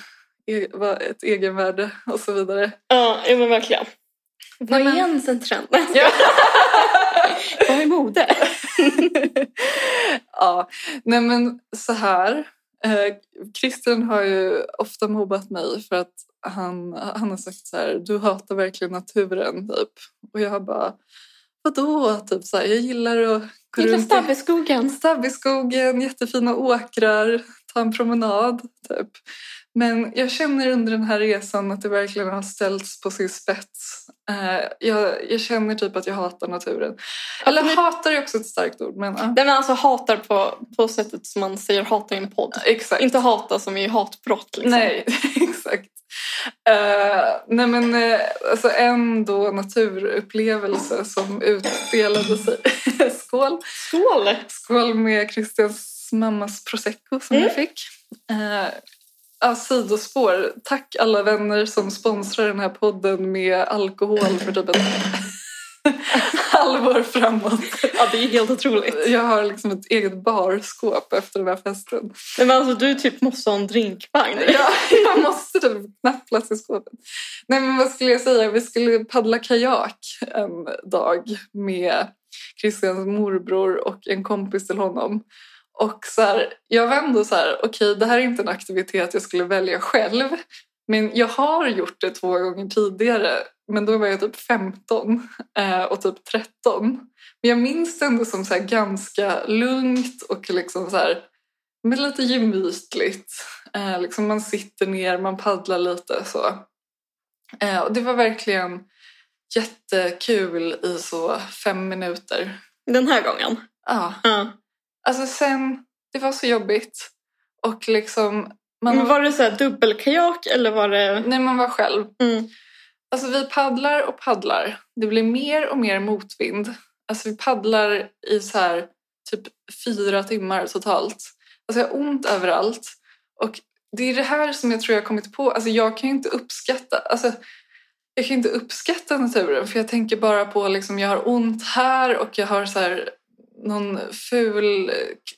C: e- vad- ett egenvärde och så vidare.
B: Ja, ja men verkligen. Vad
C: Nej, men-
B: är ens en trend?
C: Ja.
B: Vad är mode?
C: ja, nej men så här. Eh, Christian har ju ofta mobbat mig för att han, han har sagt så här, du hatar verkligen naturen typ. Och jag bara, vadå? Typ så här, jag gillar att gå
B: Gillar
C: runt i
B: stabb i skogen.
C: Stabb i skogen, jättefina åkrar, ta en promenad. Typ. Men jag känner under den här resan att det verkligen har ställts på sin spets. Eh, jag, jag känner typ att jag hatar naturen. Eller
B: men-
C: hatar är också ett starkt ord. Men, ja.
B: Nej men alltså hatar på, på sättet som man säger hata i en podd.
C: exakt.
B: Inte hata som i hatbrott liksom.
C: Nej, exakt. Eh, nej men eh, alltså en då naturupplevelse som utspelade sig. Skål!
B: Skål!
C: Skål med Christians mammas prosecco som
B: Mm.
C: jag fick. Eh, ja, sidospår. Tack alla vänner som sponsrar den här podden med alkohol för typ ett halvår framåt.
B: Ja det är helt otroligt.
C: Jag har liksom ett eget barskåp efter den här festen.
B: Nej men alltså du typ måste ha en drinkvagn.
C: Jag, jag måste typ knappt plats i skåpet. Nej men vad skulle jag säga? Vi skulle paddla kajak en dag med Christians morbror och en kompis till honom. Och så här, jag var ändå så här, okej det här är inte en aktivitet jag skulle välja själv. Men jag har gjort det två gånger tidigare. Men då var jag typ 15 eh, och typ 13. Men jag minns det ändå som så här ganska lugnt och liksom så här, men lite gemytligt. Eh, liksom man sitter ner, man paddlar lite så. Eh, och det var verkligen jättekul i så fem minuter.
B: Den här gången.
C: Ja,
B: Ja.
C: alltså sen, det var så jobbigt. Och liksom,
B: Men
C: man,
B: var det så här dubbelkajak eller var det...
C: när man var själv.
B: Mm.
C: Alltså vi paddlar och paddlar. Det blir mer och mer motvind. Alltså vi paddlar i så här typ fyra timmar totalt. Alltså jag har ont överallt. Och det är det här som jag tror jag har kommit på. Alltså jag kan ju inte uppskatta... Alltså jag kan inte uppskatta naturen för jag tänker bara på liksom jag har ont här och jag har så här någon ful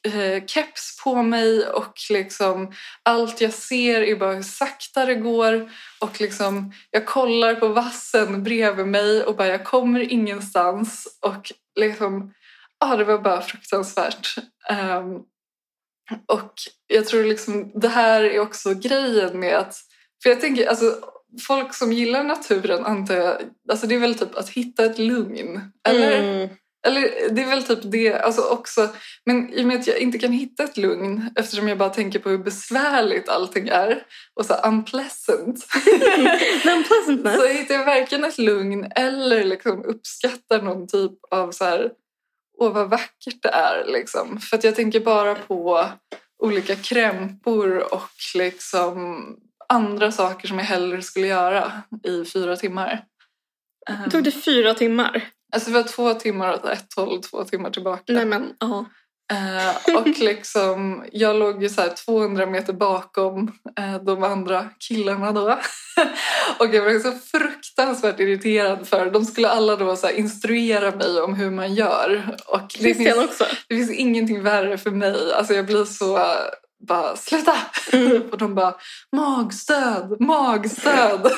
C: eh, keps på mig och liksom allt jag ser är bara hur sakta det går och liksom jag kollar på vassen bredvid mig och bara jag kommer ingenstans och liksom ja, det var bara fruktansvärt. Ehm, och jag tror liksom det här är också grejen med att för jag tänker alltså folk som gillar naturen antar jag alltså det är väl typ att hitta ett lugn eller
B: Mm.
C: eller det är väl typ det alltså också. Men i och med att jag inte kan hitta ett lugn eftersom jag bara tänker på hur besvärligt allting är och så unpleasant.
B: The unpleasantness.
C: så hittar jag varken ett lugn eller liksom uppskattar någon typ av så här, åh vad vackert det är liksom. För att jag tänker bara på olika krämpor och liksom andra saker som jag hellre skulle göra i fyra timmar. Ehm,
B: Tog det fyra timmar?
C: Alltså det var två timmar åt ett håll och två timmar tillbaka.
B: Nej men, ja.
C: Eh, och liksom, jag låg ju så här 200 meter bakom eh, de andra killarna då. och jag blev så fruktansvärt irriterad för de skulle alla då så här instruera mig om hur man gör. Och det,
B: Christian
C: finns,
B: också.
C: det finns ingenting värre för mig. Alltså jag blir så eh, bara sluta!
B: Mm.
C: Och de bara magstöd, magstöd.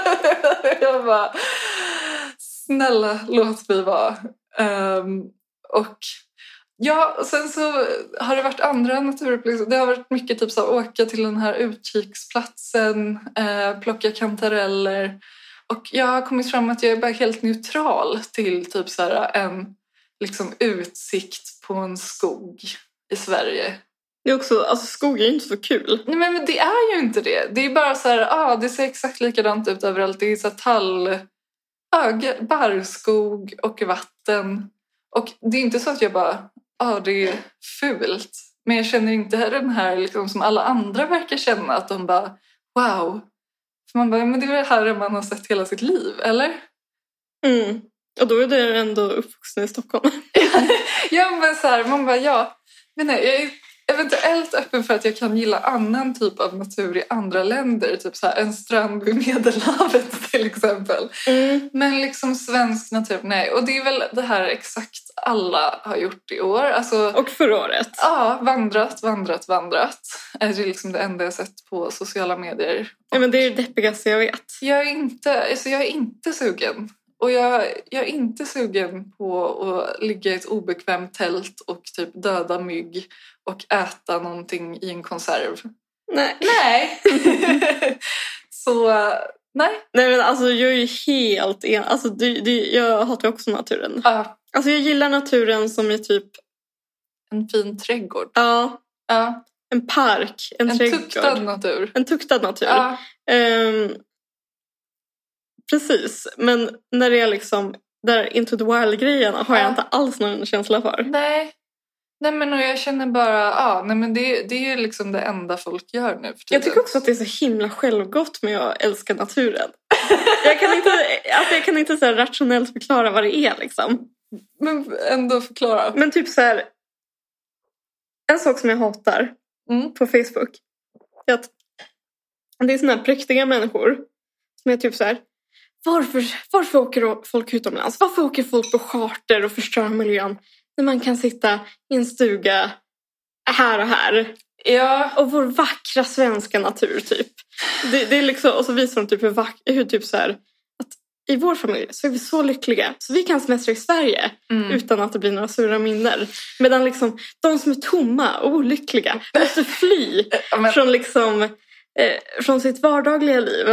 C: jag bara snälla låt mig vara. Ehm, och ja, och sen så har det varit andra naturupplevelser. Det har varit mycket typ så här, åka till den här utkiksplatsen, eh, plocka kantareller. Och jag har kommit fram att jag är bara helt neutral till typ så här, en liksom, utsikt på en skog i Sverige.
B: Det är också, alltså skog är ju inte så kul.
C: Nej men det är ju inte det. Det är bara så här, ah, det ser exakt likadant ut överallt. Det är så här tall, ah, g- barrskog och vatten. Och det är inte så att jag bara, ah, det är fult. Men jag känner inte den här liksom, som alla andra verkar känna, att de bara, wow. För man bara, men det är väl det här man har sett hela sitt liv, eller?
B: Mm. Och då är du ändå uppvuxen i Stockholm.
C: Ja, men så här, man bara, ja. Men nej, jag är eventuellt öppen för att jag kan gilla annan typ av natur i andra länder. Typ så här, en strand vid Medelhavet till exempel.
B: Mm.
C: Men liksom svensk natur, nej. Och det är väl det här exakt alla har gjort i år. Alltså,
B: Och förra året.
C: ja, vandrat, vandrat, vandrat. Eh, Det är liksom det enda jag sett på sociala medier.
B: Nej, men det är det deppigaste jag vet.
C: Jag är inte, alltså jag är inte sugen. Och jag, jag är inte sugen på att ligga i ett obekvämt tält och typ döda mygg och äta någonting i en konserv.
B: Nej.
C: Nej! Så nej.
B: Nej men alltså jag är ju helt en... Alltså det, det, jag hatar ju också naturen.
C: Ja,
B: Alltså jag gillar naturen som är typ,
C: en fin trädgård.
B: ja,
C: Ja,
B: en park, en,
C: en
B: trädgård.
C: tuktad natur.
B: En tuktad natur.
C: Ja,
B: Ehm, precis, men när det är liksom där Into the Wild-grejen har
C: Ja.
B: jag inte alls någon känsla för.
C: nej. Nej men och jag känner bara, ja, nej men det, det är ju liksom det enda folk gör nu för
B: Jag tycker
C: tiden.
B: också att det är så himla självgott men jag älskar naturen. Jag kan inte, alltså jag kan inte så här rationellt förklara vad det är liksom.
C: Men ändå förklara.
B: Men typ så här, en sak som jag hatar
C: Mm.
B: på Facebook är att det är såna här präktiga människor som är typ så här varför, varför åker folk utomlands? Varför åker folk på charter och förstör miljön när man kan sitta i en stuga här och här
C: Ja,
B: och vår vackra svenska natur typ. Det, det är liksom, och så visar de typ hur, vack, hur typ så här, att i vår familj så är vi så lyckliga så vi kan semestra i Sverige
C: mm.
B: utan att det blir några sura minnen. Medan liksom de som är tomma och olyckliga måste fly
C: Ja, men-
B: från, liksom, eh, från sitt vardagliga liv.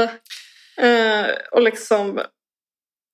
B: Eh, och liksom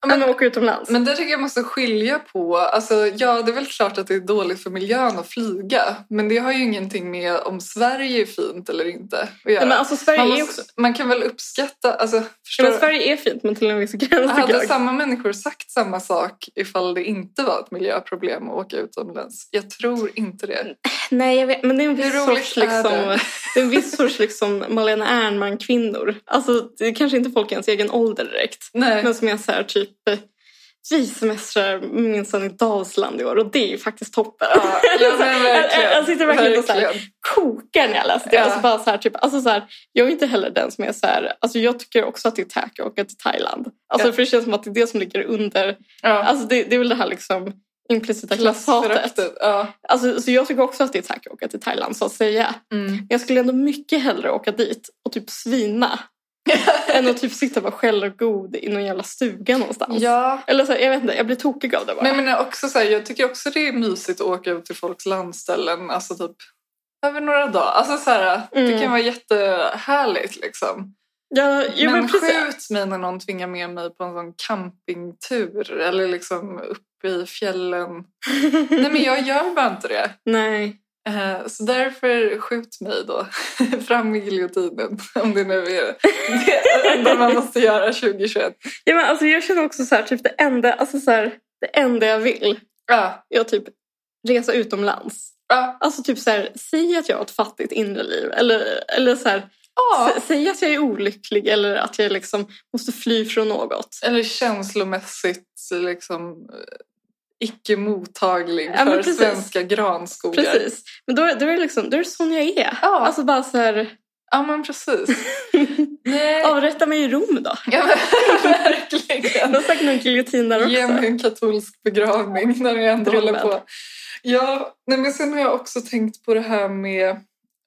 C: Ja,
B: men,
C: men-
B: åka utomlands.
C: Men där tycker jag måste skilja på, alltså ja det är väl klart att det är dåligt för miljön att flyga men det har ju ingenting med om Sverige är fint eller inte att göra.
B: Nej, men alltså, Sverige,
C: man,
B: är
C: måste,
B: också,
C: man kan väl uppskatta, alltså förstår
B: Nej,
C: du?
B: men Sverige är fint men till en viss gräns tycker
C: Hade
B: jag.
C: samma människor sagt samma sak ifall det inte var ett miljöproblem att åka utomlands? Jag tror inte det.
B: Nej, jag vet, men det är en
C: Hur
B: viss
C: roligt
B: sorts,
C: är
B: liksom,
C: det?
B: det? är en viss sorts liksom, Malena Ernman-kvinnor. Alltså, det är kanske inte folk i ens egen ålder direkt.
C: Nej.
B: Men som är så här typ, eh, vi semestrar minsann i Dalsland i år och det är ju faktiskt toppen.
C: Ja, ja, men verkligen.
B: Jag sitter verkligen och så här-
C: Verkligen.
B: kokar när jag läser det.
C: Ja.
B: Alltså bara så här, typ, alltså så här, jag är inte heller den som är så här, alltså jag tycker också att det är tack att åka till Thailand. Alltså
C: Ja.
B: för det känns som att det är det som ligger under,
C: Ja.
B: alltså det, det är väl det här liksom implicita klasshatet.
C: Ja.
B: Alltså, så jag tycker också att det är tack att åka till Thailand så att säga.
C: Mm.
B: Jag skulle ändå mycket hellre åka dit och typ svina än att typ sitta och vara självgod i någon jävla stuga någonstans.
C: ja.
B: Eller så, här, jag vet inte, jag blir tokig av det bara.
C: Men, men också så här, jag tycker också det är mysigt att åka ut till folks landställen. Alltså typ över några dagar. Alltså så här, Det
B: Mm.
C: kan vara jättehärligt liksom.
B: ja, jo, men
C: men
B: precis.
C: skjut mig när någon tvingar med mig på en sån campingtur. Eller liksom uppe i fjällen. Nej men jag gör bara inte det.
B: Nej.
C: Eh, Så därför skjut mig då. Fram med giljotinen. Om det nu är det enda man måste göra 2021.
B: Ja, men alltså, jag känner också så här, typ det enda, alltså, så här, det enda jag vill
C: Ja,
B: är att typ resa utomlands.
C: ja,
B: Alltså typ så här, säg att jag har ett fattigt inre liv. Eller, eller så här,
C: ja.
B: sä- säg att jag är olycklig eller att jag liksom måste fly från något.
C: Eller känslomässigt liksom eh, icke mottaglig
B: Ja, men
C: för
B: precis.
C: svenska granskogar.
B: Precis. Men då, är- då är det liksom, då är det sån jag är.
C: Ja.
B: Alltså bara så här,
C: Ja, men precis. Nej.
B: avrätta mig i Rom då.
C: Ja, men,
B: Det har
C: verkligen.
B: säkert någon giljotin där
C: Ge mig
B: också.
C: en katolsk begravning när jag ändå
B: Drömmen.
C: håller på. Ja, nej, men sen har jag också tänkt på det här med...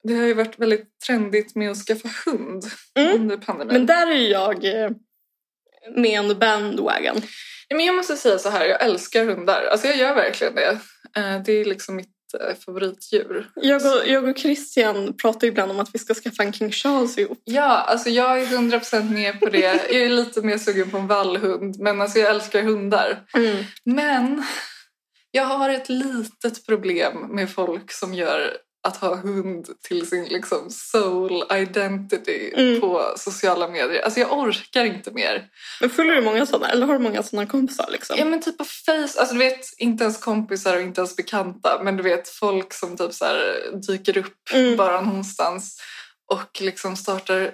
C: Det har ju varit väldigt trendigt med att skaffa hund
B: Mm.
C: under pandemin.
B: Men där är ju jag eh, med on the bandwagon.
C: Nej, Men jag måste säga så här, jag älskar hundar. Alltså jag gör verkligen det. Eh, Det är liksom mitt eh, favoritdjur.
B: Jag och, jag och Christian pratar ju ibland om att vi ska skaffa en King Charles ihop.
C: Ja, alltså jag är 100% med på det. Jag är lite mer sugen på en vallhund, men alltså jag älskar hundar. Men jag har ett litet problem med folk som gör att ha hund till sin liksom soul identity
B: Mm.
C: på sociala medier. Alltså jag orkar inte mer.
B: Men följer du många sådana? Eller har du många sådana kompisar liksom?
C: Ja men typ på face, alltså du vet inte ens kompisar och inte ens bekanta men du vet folk som typ så här dyker upp
B: Mm.
C: bara någonstans och liksom startar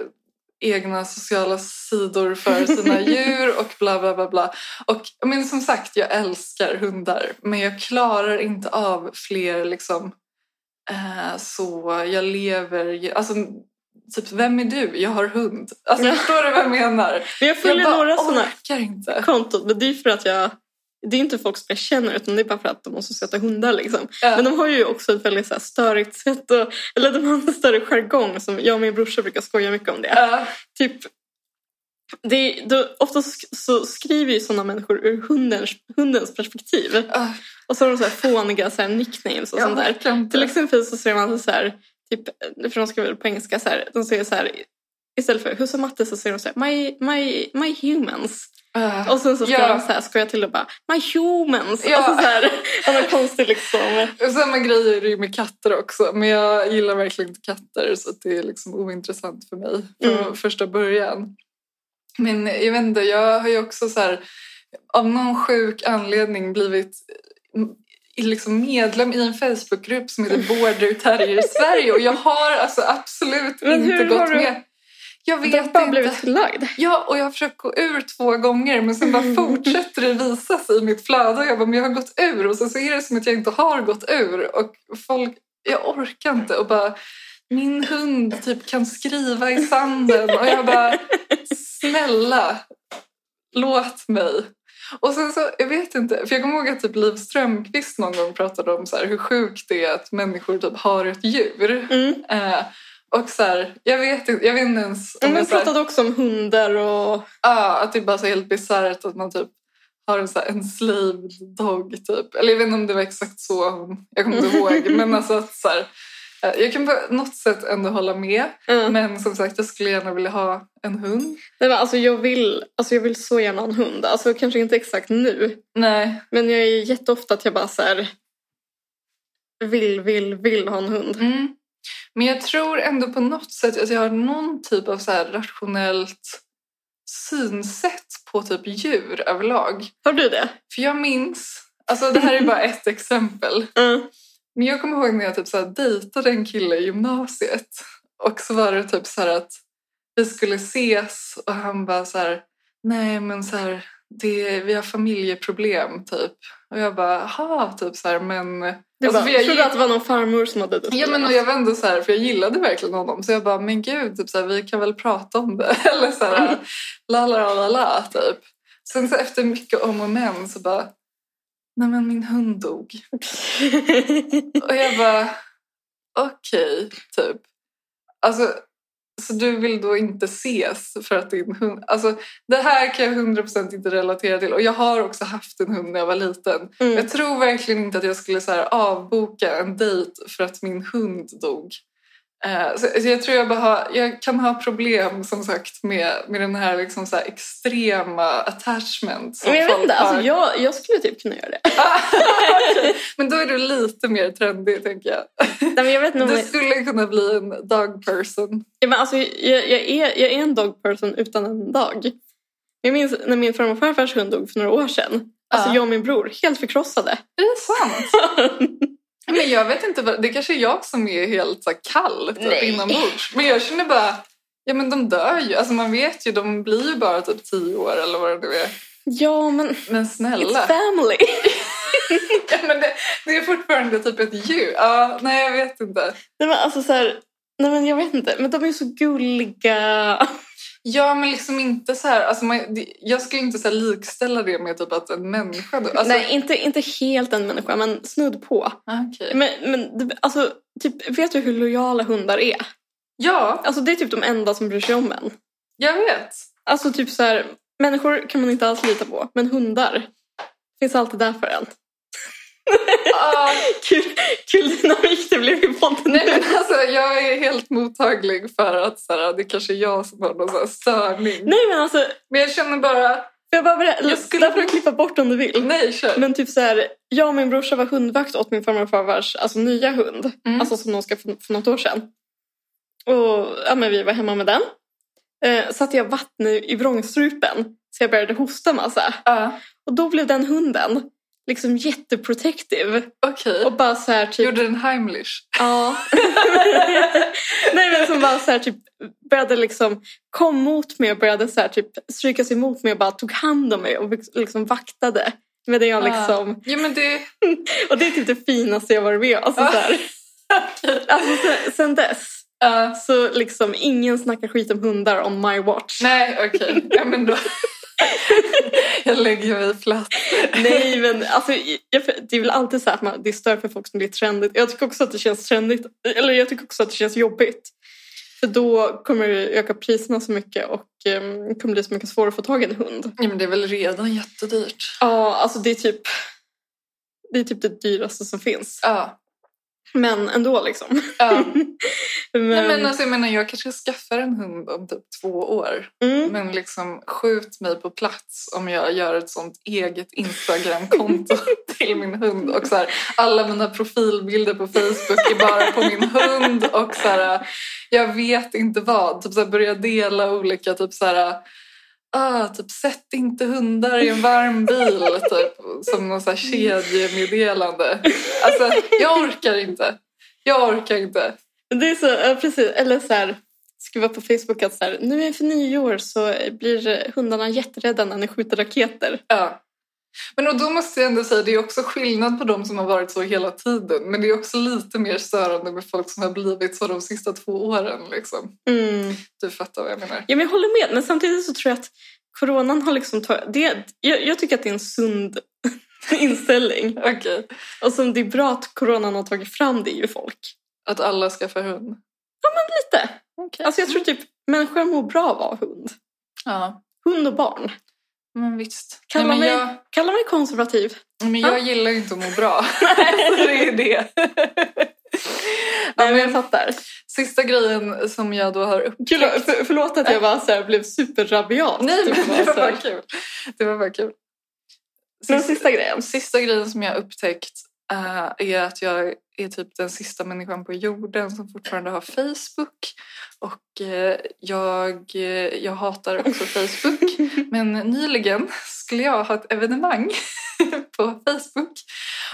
C: egna sociala sidor för sina djur och bla bla bla bla. Och men som sagt, jag älskar hundar men jag klarar inte av fler liksom eh, så jag lever, ju- alltså typ vem är du? Jag har hund. Alltså
B: Ja.
C: förstår du vad jag menar?
B: Men jag följer
C: jag bara
B: några sådana
C: orkar inte.
B: konton. Men det är för att jag... Det är inte folk som jag känner utan det är bara för att de måste sätta hundar liksom.
C: Ja.
B: Men de har ju också ett väldigt så här, störigt sätt och, Eller de har en större jargong som jag och min brorsa brukar skoja mycket om det.
C: Ja.
B: Typ, det är, då, ofta så skriver ju sådana människor ur hundens, hundens perspektiv.
C: Ah,
B: Och så har de så här fåniga så här, nicknames och sånt där.
C: orkar inte.
B: Till exempel så ser man så här, typ, för de skriver på engelska så här, de säger så här, istället för husse matte så säger de så här, my, my, my humans.
C: Ah.
B: Och sen så ska
C: Ja.
B: de så här skoja till och bara, my humans.
C: Ja.
B: Alltså så här, han har konstig liksom.
C: Samma grej är det ju med katter också. Men jag gillar verkligen inte katter så att det är liksom ointressant för mig från
B: Mm.
C: första början. Men jag vet inte, jag har ju också så här, av någon sjuk anledning blivit eh, i- liksom medlem i en Facebookgrupp som heter Border Terrier Sverige och jag har alltså absolut
B: Men hur
C: inte
B: har
C: gått
B: du-
C: med. Jag
B: De
C: vet
B: har bara
C: inte.
B: blivit förlagd.
C: Ja, och jag har försökt gå ur två gånger men sen bara fortsätter det visa sig i mitt flöde. Och Jag bara, men jag har gått ur och sen så är det som att jag inte har gått ur. Och folk, jag orkar inte och bara, min hund typ kan skriva i sanden. Och jag bara, snälla, låt mig. Och sen så, jag vet inte, för jag kommer ihåg att typ Liv Strömquist någon gång pratade om så här, hur sjukt det är att människor typ har ett djur.
B: Mm.
C: Eh, och så här, jag vet inte, jag vet inte ens
B: Men vi
C: jag så här-
B: pratade också om hundar och...
C: Ja, att det är bara så helt bisarrt att man typ har en, så här enslaved dog typ. Eller jag vet inte om det var exakt så hon, jag kommer inte ihåg. Men alltså att så här, eh, jag kan på något sätt ändå hålla med.
B: Mm.
C: Men som sagt, jag skulle gärna vilja ha en hund.
B: Nej, men alltså, jag vill, alltså jag vill så gärna ha en hund. Alltså kanske inte exakt nu.
C: Nej.
B: Men jag är jätteofta att jag bara så här, vill, vill, vill ha en hund.
C: Mm. Men jag tror ändå på något sätt att jag har någon typ av så här rationellt synsätt på typ djur överlag.
B: Har du det?
C: För jag minns, alltså det här är bara ett exempel.
B: Mm.
C: Men jag kommer ihåg när jag typ så här dejtade en kille i gymnasiet. Och så var det typ så här att vi skulle ses och han bara så här, nej men så här, det, vi har familjeproblem typ. Och jag bara, ha typ så här, men...
B: Du
C: Alltså,
B: bara,
C: för jag
B: trodde
C: gill-
B: att det var någon farmor som hade dött. Mm.
C: Ja men och jag var ändå så här, för jag gillade verkligen honom. Så jag bara, men gud, typ så här, vi kan väl prata om det. Eller så
B: Mm.
C: här, la la la la la typ. Sen så efter mycket om och men så bara, nej men min hund dog. Och jag bara, okej, typ. Alltså, så du vill då inte ses för att din hund... Alltså, det här kan jag 100% inte relatera till. Och jag har också haft en hund när jag var liten.
B: Mm.
C: Jag tror verkligen inte att jag skulle så här, avboka en dejt för att min hund dog. Eh, Så så jag tror jag, bara har, jag kan ha problem som sagt med, med den här, liksom så här extrema attachment. Som
B: Men jag vet
C: folk
B: inte, alltså,
C: har.
B: jag, jag skulle typ kunna göra det.
C: Men då är du lite mer trendig tänker jag.
B: Nej, men jag vet nog,
C: Du skulle kunna bli en dog person.
B: ja, men alltså, jag, jag, är, jag är en dog person utan en dag. Jag minns när min farmor och farfars hund dog för några år sedan. Alltså
C: Ja.
B: jag och min bror, helt förkrossade.
C: Är det sant? Men jag vet inte, vad- det kanske är jag som är helt så här kall typ,
B: Nej.
C: inombords. Men jag känner bara, ja men de dör ju. Alltså man vet ju, de blir ju bara typ tio år eller vad det nu är.
B: ja, men
C: Men
B: it's
C: snälla.
B: family.
C: Ja, men det, det är fortfarande typ ett djur. Ja, nej jag vet inte.
B: Nej, men alltså så här, nej men jag vet inte, men de är ju så gulliga.
C: Ja men liksom inte så här, alltså man, det- jag skulle inte så här likställa det med typ att en människa då. Alltså,
B: Nej, inte, inte helt en människa, men snudd på.
C: Ah, okej.
B: Men, men det- alltså, typ, vet du hur lojala hundar är?
C: Ja,
B: Alltså det är typ de enda som bryr sig om en.
C: jag vet.
B: Alltså typ så här, människor kan man inte alls lita på, men hundar finns alltid där för en.
C: Ah,
B: Kul, kul dynamik det blev i podden
C: Nej,
B: nu.
C: men alltså, jag är helt mottaglig för att så här, det kanske är jag som har någon så här, störning.
B: Nej men alltså,
C: Men jag känner bara,
B: får jag bara berätta?
C: Jag skulle-
B: Där får du klippa bort om du vill.
C: nej kör.
B: Men typ så här, jag och min brorsa var hundvakt åt min farmor och farfars alltså, nya hund.
C: Mm.
B: Alltså som de ska för, för något år sedan. Och ja, men vi var hemma med den. Eh, satte jag vatten i, i vrångstrupen så jag började hosta massa.
C: Ja,
B: Och då blev den hunden liksom jätteprotective.
C: Okej,
B: Och bara så här typ...
C: gjorde den Heimlich?
B: Ja. Nej men som bara så här typ började liksom kom mot mig och började så här typ stryka sig mot mig och bara tog hand om mig och liksom vaktade. Medan jag liksom...
C: Ja, men det...
B: Och det är typ det finaste jag varit med om. Alltså, så här. alltså sen, sen dess
C: Ja,
B: så liksom ingen snackar skit om hundar on my watch.
C: nej, okej. Ja, men då... jag lägger mig platt.
B: Nej, men alltså, jag, det är väl alltid så här att man, det stör för folk som blir trendigt. Jag tycker också att det känns trendigt, eller jag tycker också att det känns jobbigt. För då kommer det öka priserna så mycket och um, kommer bli så mycket svårare att få tag i en hund.
C: Ja, men det är väl redan jättedyrt?
B: Ja, alltså det är typ det är typ det dyraste som finns.
C: Ja.
B: Men ändå liksom.
C: ja.
B: Men,
C: Nej, men alltså, jag menar, jag kanske skaffar en hund om typ två år.
B: mm,
C: Men liksom skjut mig på plats om jag gör ett sånt eget Instagram-konto till min hund. Och så här, alla mina profilbilder på Facebook är bara på min hund. Och så här, jag vet inte vad. Typ så här, börja dela olika typ så här... Ah, typ sätt inte hundar i en varm bil. Typ, som någon så här kedjemeddelande. Alltså, jag orkar inte. Jag orkar inte.
B: det är så, ja, precis. Eller så här, skriva på Facebook att så här, nu inför nyår så blir hundarna jätterädda när ni skjuter raketer.
C: Ja. Men och då måste jag ändå säga, det är också skillnad på de som har varit så hela tiden. Men det är också lite mer störande med folk som har blivit så de sista två åren. Liksom.
B: Mm.
C: Du fattar vad jag menar.
B: Ja, men jag håller med. Men samtidigt så tror jag att coronan har liksom tagit... Det, jag, jag tycker att det är en sund inställning.
C: Okej.
B: Och som det är bra att coronan har tagit fram det är ju folk.
C: Att alla skaffar hund.
B: Lite.
C: Okej.
B: Alltså jag tror typ människor mår bra av att ha hund.
C: Ja,
B: Hund och barn.
C: men visst.
B: Kalla,
C: Nej, men
B: mig,
C: jag,
B: kalla mig konservativ.
C: men jag
B: Ja.
C: gillar ju inte att må bra. Så det är det.
B: Nej,
C: ja,
B: men jag
C: men,
B: fattar.
C: sista grejen som jag då har
B: Kul,
C: upptäckt.
B: för, förlåt att jag bara så här blev superrabiat.
C: Nej,
B: Typ bara
C: men det var
B: så här.
C: bara kul. Det var bara kul.
B: Men
C: Sist-
B: sista grejen.
C: Sista grejen som jag har upptäckt eh, är att jag är typ den sista människan på jorden som fortfarande har Facebook. Och eh, jag, eh, jag hatar också Facebook. Men nyligen skulle jag ha ett evenemang på Facebook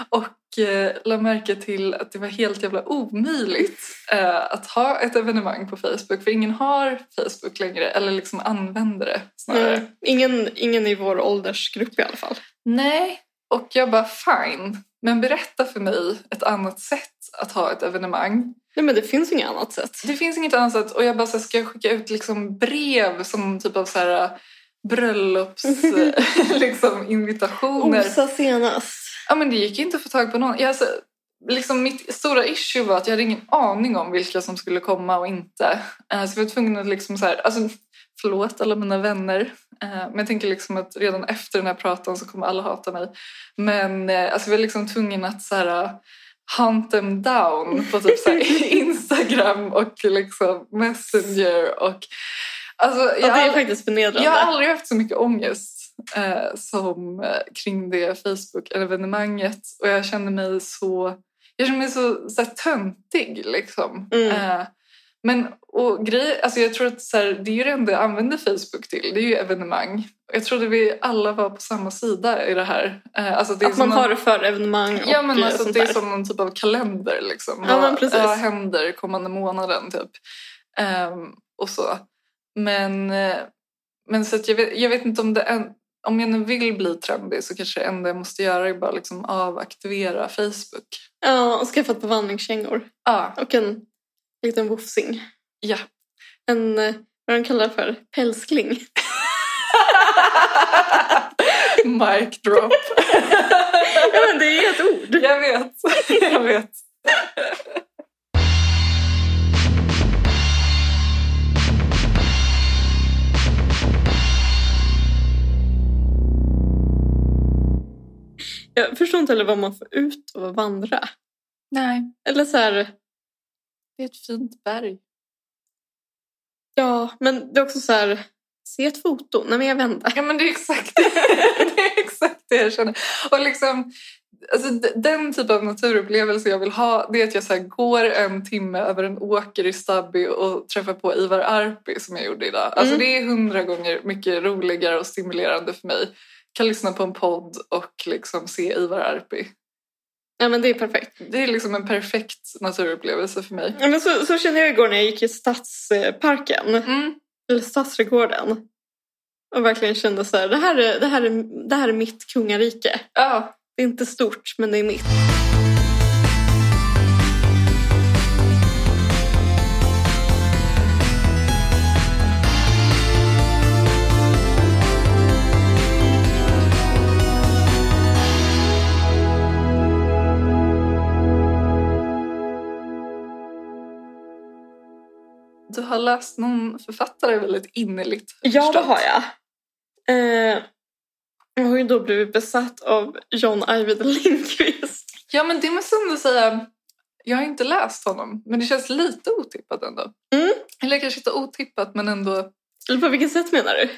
C: och eh, la märke till att det var helt jävla omöjligt eh, att ha ett evenemang på Facebook för ingen har Facebook längre eller liksom använder det snarare.
B: Mm. Ingen, ingen i vår åldersgrupp i alla fall.
C: Nej, och jag bara fine. Men berätta för mig ett annat sätt att ha ett evenemang.
B: Nej, men det finns inget annat sätt.
C: Det finns inget annat sätt och jag bara så här, ska jag skicka ut liksom brev som typ av så här bröllops liksom invitationer.
B: Osa senast.
C: Ja, men det gick inte att få tag på någon. Jag, alltså, liksom mitt stora issue var att jag hade ingen aning om vilka som skulle komma och inte. Eh, Så jag var tvungen att liksom så här, alltså, förlåt alla mina vänner. Eh, Men jag tänker liksom att redan efter den här pratan så kommer alla hata mig. Men eh, alltså, jag var liksom tvungen att så här, hunt them down på typ så här, Instagram och liksom Messenger. Och, alltså, jag
B: Ja, det är
C: hade-
B: faktiskt förnedrande.
C: jag har aldrig haft så mycket ångest eh, som eh, kring det Facebook-evenemanget. Och jag kände mig så, jag kände mig så, så här, töntig. Liksom.
B: Mm.
C: Eh, men och grej, alltså jag tror att så här, det är ju det enda jag använder Facebook till, det är ju evenemang. Jag trodde vi alla var på samma sida i det här. Eh, alltså det är
B: Att man
C: såna-
B: har det för evenemang och
C: Ja, men
B: eh,
C: alltså,
B: sånt
C: det är
B: där.
C: som någon typ av kalender. Liksom.
B: Ja,
C: vad,
B: men precis.
C: vad händer kommande månaden? Typ. Ehm, och så. Men, eh, men så att jag, vet, jag vet inte om det än- om jag nu vill bli trendig så kanske det enda jag måste göra är bara liksom avaktivera Facebook.
B: Ja, och skaffat på vandringskängor.
C: Ah,
B: Och en liten wofsing.
C: ja.
B: En, eh, vad de kallar det för, pälskling.
C: Mic drop.
B: ja, men det är ett ord.
C: jag vet. Jag vet.
B: Jag förstår inte heller vad man får ut av att vandra.
C: Nej,
B: Eller så här,
C: det är ett fint berg.
B: ja, men det är också så här, se ett foto. Nej, men jag vänder.
C: Ja, men det är exakt det, det, är exakt det jag känner. Och liksom, alltså, d- den typ av naturupplevelse jag vill ha det är att jag så här, går en timme över en åker i Stabby och träffar på Ivar Arpi som jag gjorde idag. Alltså,
B: Mm.
C: Det är hundra gånger mycket roligare och stimulerande för mig. Kan lyssna på en podd och liksom se Ivar Arpi.
B: Ja, men det är perfekt.
C: Det är liksom en perfekt naturupplevelse för mig.
B: Ja, men så, så kände jag igår när jag gick i stadsparken,
C: Mm.
B: eller stadsträdgården. Och verkligen kände så här, det här är, det här är, det här är mitt kungarike.
C: Ja,
B: Det är inte stort, men det är mitt.
C: du har läst någon författare väldigt innerligt.
B: Ja, det
C: förstått.
B: har jag. Eh, jag har ju då blivit besatt av John Ajvide Lindqvist.
C: Ja, men det måste jag ändå säga. Jag har inte läst honom, men det känns lite otippat ändå.
B: Mm.
C: Eller kanske inte otippat, men ändå.
B: Eller på vilket sätt menar du?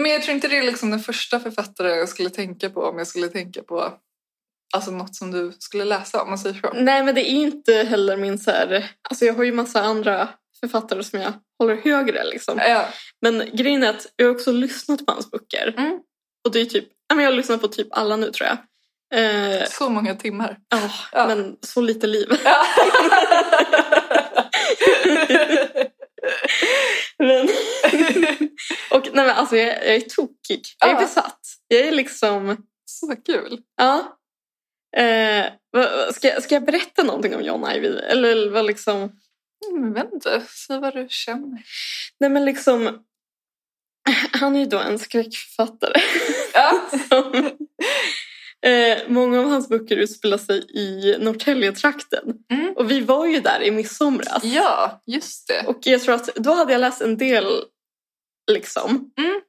C: Men jag tror inte det är liksom den första författaren jag skulle tänka på om jag skulle tänka på alltså något som du skulle läsa, om man säger så.
B: Nej, men det är ju inte heller min så här... Alltså jag har ju massa andra författare som jag håller högre liksom.
C: Ja,
B: Men grejen är att jag har också lyssnat på hans böcker.
C: Mm.
B: Och det är typ... ja, men Jag har lyssnat på typ alla nu tror jag. Eh,
C: så många timmar.
B: ja,
C: Ja.
B: men så lite liv.
C: Ja.
B: Men... och nej men alltså jag, jag är tokig. Jag är
C: Ja.
B: besatt. Jag är liksom...
C: så kul.
B: Ja. Eh, vad- vad- ska, jag- ska jag berätta någonting om John Ivy? Eller vad liksom...
C: Mm, Men du, säg vad du känner.
B: Nej men liksom... Han är ju då en skräckförfattare.
C: Ja.
B: Som, eh, många av hans böcker utspelar sig i Norrtäljetrakten.
C: Mm.
B: Och vi var ju där i midsomras.
C: ja, just det.
B: Och jag tror att då hade jag läst en del liksom.
C: Mm.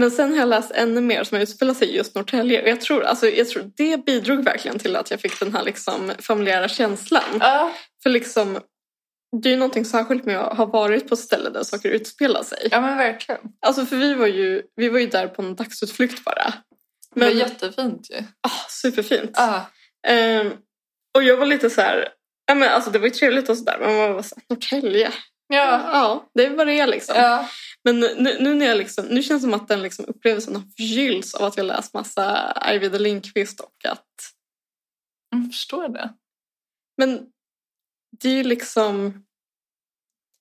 B: Men sen har jag läst ännu mer som utspelar sig i just Norrtälje. Och jag tror, alltså, jag tror det bidrog verkligen till att jag fick den här liksom, familjära känslan.
C: Ja,
B: För liksom, det är ju någonting särskilt med att ha varit på ställen där saker utspelar sig.
C: ja men verkligen.
B: Alltså för vi var ju, vi var ju där på en dagsutflykt bara.
C: Det var
B: Men
C: jättefint ju.
B: ah, superfint.
C: Ja.
B: Ehm, och jag var lite så här, ja, men alltså det var ju trevligt och sådär men man var såhär, Norrtälje?
C: Ja.
B: det är vad det är liksom.
C: ja.
B: Men nu, nu, när jag liksom, nu känns det som att den liksom upplevelsen har förgyllts av att jag läst massa Ajvide Lindqvist och att...
C: Jag förstår det.
B: Men det är ju liksom...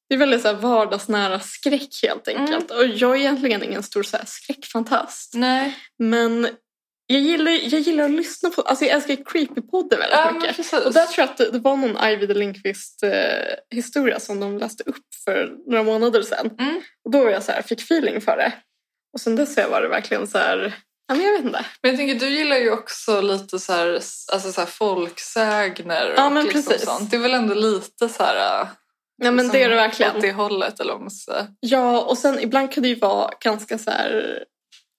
B: Det är väldigt så här vardagsnära skräck helt
C: Mm.
B: enkelt. Och jag är egentligen ingen stor så här skräckfantast.
C: Nej.
B: Men jag gillar, jag gillar att lyssna på... Alltså jag älskar creepypodden väldigt
C: Ja, men
B: mycket.
C: precis.
B: Och där tror jag att det, det var någon Ajvide Lindqvist-historia som de läste upp för några månader sedan.
C: Mm.
B: Och då var jag så här, fick feeling för det. Och sen dess har jag varit verkligen så här, Ja, men jag vet inte.
C: Men jag tänker, du gillar ju också lite så här, alltså så här folksägner och
B: Ja, men
C: liksom
B: precis.
C: sånt. Det är väl ändå lite så här... äh,
B: Nej, men
C: liksom
B: det är det verkligen.
C: Åt det hållet eller om man ska säga.
B: Ja, och sen ibland kan det ju vara ganska så här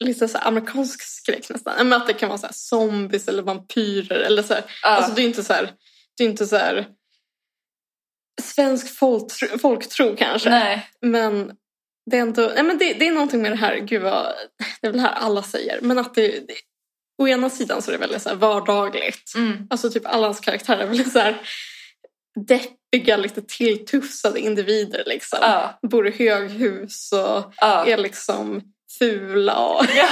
B: lite så här amerikansk skräck nästan. Ja, Men att det kan vara så här zombies eller vampyrer eller så här.
C: Ja.
B: Alltså det är inte så här, det är inte så här svensk folktro, folktro kanske.
C: Nej.
B: Men det är ändå, nej men det, det är någonting med det här, gud vad, det är väl det här alla säger, men att det, det å ena sidan så är det väldigt så här vardagligt.
C: Mm.
B: Alltså typ alla hans karaktärer är väldigt så här deppiga, lite tilltufsade individer liksom
C: Ja.
B: bor i höghus och
C: Ja.
B: är liksom fula. Och...
C: Ja.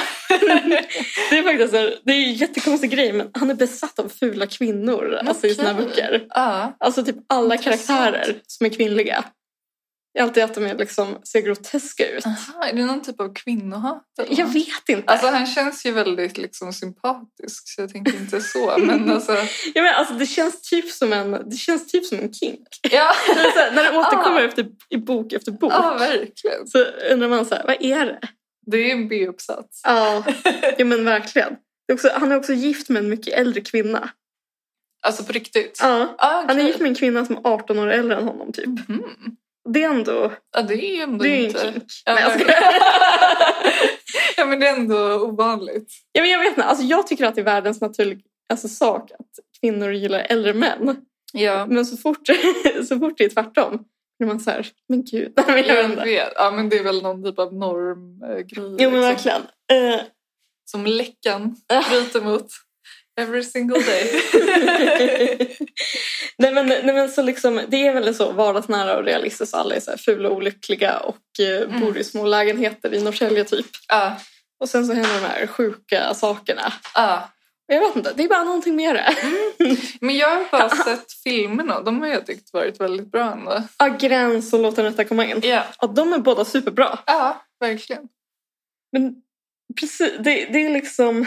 B: det är faktiskt en, det är en jättekonstig grej men han är besatt av fula kvinnor alltså, i sina
C: Okej.
B: böcker.
C: Ja.
B: Alltså typ alla
C: Intressant.
B: karaktärer som är kvinnliga. Det är alltid att de är liksom, ser groteska ut.
C: Aha, är det någon typ av kvinnohat? eller
B: Jag
C: något?
B: vet inte.
C: Alltså han känns ju väldigt liksom sympatisk så jag tänker inte så. Men alltså,
B: Jag menar, alltså, det, känns typ som en, det känns typ som en kink.
C: ja,
B: Det är så här, när det återkommer
C: Ah.
B: efter, i bok efter bok
C: ja, verkligen.
B: så undrar man så här, vad är det?
C: Det är en B-uppsats.
B: Ja, ja men verkligen. Det är också, han är också gift med en mycket äldre kvinna.
C: Alltså på riktigt.
B: Ja.
C: Ah,
B: Han är
C: okej.
B: gift med en kvinna som är 18 år äldre än honom typ.
C: Mhm.
B: Det är ändå,
C: Ja, det är ju ändå
B: det är ju en
C: inte...
B: kink.
C: Ja,
B: Nej, jag
C: men...
B: skojar.
C: ja, men det är ändå ovanligt.
B: ja, men jag vet inte, alltså, jag tycker att det är världens naturliga alltså, sak att kvinnor gillar äldre män.
C: Ja,
B: Men så fort, så fort det är tvärtom blir man så här, men gud. Nej, men jag vet
C: jag
B: inte.
C: vet. Ja, men det är väl någon typ av normgrej.
B: Jo men verkligen. Eh,
C: liksom, Som läckan bryter mot every single day.
B: nej, men, nej men så liksom, det är väldigt så vardagsnära och realistiskt. Alla är så här fula och olyckliga och eh,
C: Mm.
B: bor i små lägenheter i Norrtälje typ.
C: Ja,
B: Och sen så händer de här sjuka sakerna.
C: ja.
B: Jag vet inte, det är bara någonting med det.
C: Men jag har bara sett filmerna. De har jag tyckt varit väldigt bra ändå.
B: Ja, gräns och låt den rätta komma in.
C: Ja,
B: Ja, de är båda superbra.
C: ja verkligen.
B: Men precis, det, det är liksom...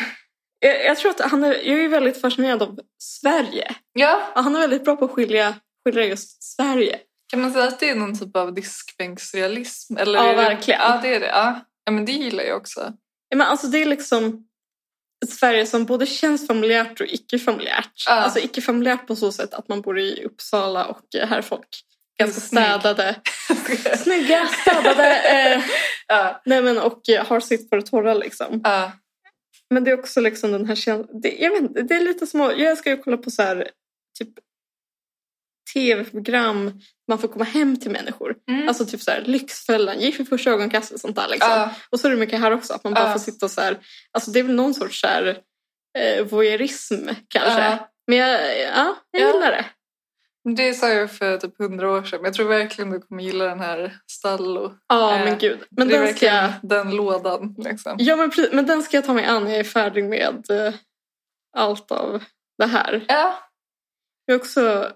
B: Jag, jag tror att han är, jag är väldigt fascinerad av Sverige.
C: Ja,
B: Ja, han är väldigt bra på att skilja, skilja just Sverige.
C: kan man säga att det är någon typ av diskbänksrealism? Eller
B: Ja,
C: är det...
B: verkligen.
C: Ja, det är det. Ja. ja, men det gillar jag också.
B: Ja, Men alltså det är liksom ett Sverige som både känns familjärt och icke-familjärt.
C: Ja.
B: Alltså icke-familjärt på så sätt att man bor i Uppsala och eh, här är folk ganska
C: Snygg.
B: städade. Snygga, städade. Eh,
C: ja,
B: nej men och eh, har sitt på det torra liksom.
C: ja.
B: Men det är också liksom den här känslan. Det, jag vet inte, det är lite små... Jag älskar ju att kolla på så här, typ tv-program. Man får komma hem till människor.
C: Mm.
B: Alltså typ så här, Lyxfällan, Gift vid första ögonkastet och sånt där. Liksom.
C: ja.
B: Och så är det mycket här också, att man bara
C: Ja.
B: får sitta och så här... Alltså det är väl någon sorts så här, eh, voyeurism kanske.
C: Ja.
B: Men jag, ja, jag
C: Ja.
B: gillar det.
C: Det sa jag för typ hundra år sedan. Men jag tror verkligen du kommer gilla den här Stallo.
B: Ja,
C: Eh,
B: men gud. Men
C: det är
B: den ska jag...
C: verkligen den lådan liksom.
B: Ja, men, precis, men den ska jag ta mig an. Jag är färdig med eh, allt av det här.
C: Ja,
B: Jag är också...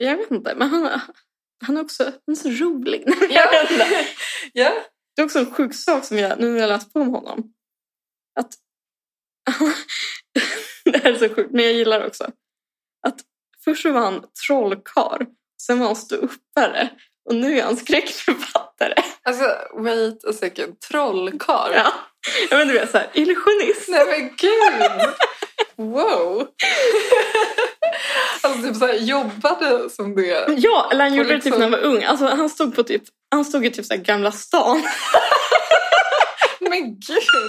B: Jag vet inte, men han, han är också han är så rolig.
C: ja. ja.
B: Det är också en sjuk sak som jag, nu när jag läst på om honom. Att... det här är så sjukt, men jag gillar det också. Att först så var han trollkar, sen var han ståuppare och nu är han skräckförfattare.
C: Alltså, wait a second. Trollkarl?
B: Ja. Jag men du vet såhär, illusionist.
C: Nej men gud! Wow! Alltså typ såhär, jobbade som det.
B: Ja, eller han gjorde det typ
C: liksom-
B: när han var ung. Alltså, han stod på typ, han stod i typ så här Gamla stan.
C: Men gud!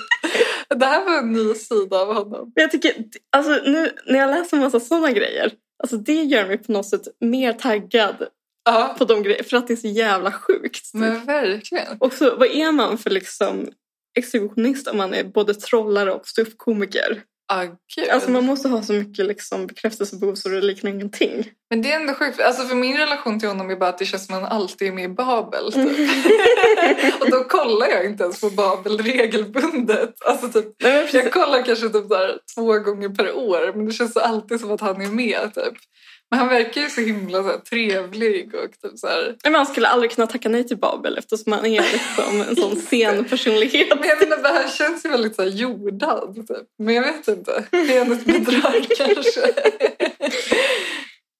C: Det här var en ny sida av honom.
B: Men jag tycker, alltså nu när jag läser en massa sådana grejer, alltså det gör mig på något sätt mer taggad
C: Ja,
B: på de grejerna, för att det är så jävla sjukt. typ.
C: men verkligen.
B: Och så, vad är man för liksom exhibitionist om man är både trollare och ståuppkomiker?
C: Ja, gud.
B: Alltså man måste ha så mycket liksom bekräftelsebehov så det liknar ingenting.
C: Men det är ändå sjukt. Alltså för min relation till honom är bara att det känns som att han alltid är med i Babel. Typ.
B: Mm.
C: Och då kollar jag inte ens på Babel regelbundet. Alltså typ,
B: Nej, men precis.
C: jag kollar kanske typ där två gånger per år men det känns alltid som att han är med. Typ. Men han verkar ju så himla så här, trevlig och typ så här...
B: Nej, men han skulle aldrig kunna tacka nej till Babel eftersom han är liksom en sån scenpersonlighet.
C: Men jag menar, han känns ju väldigt så här, jordad. Typ. Men jag vet inte. Det är ett bidrag kanske.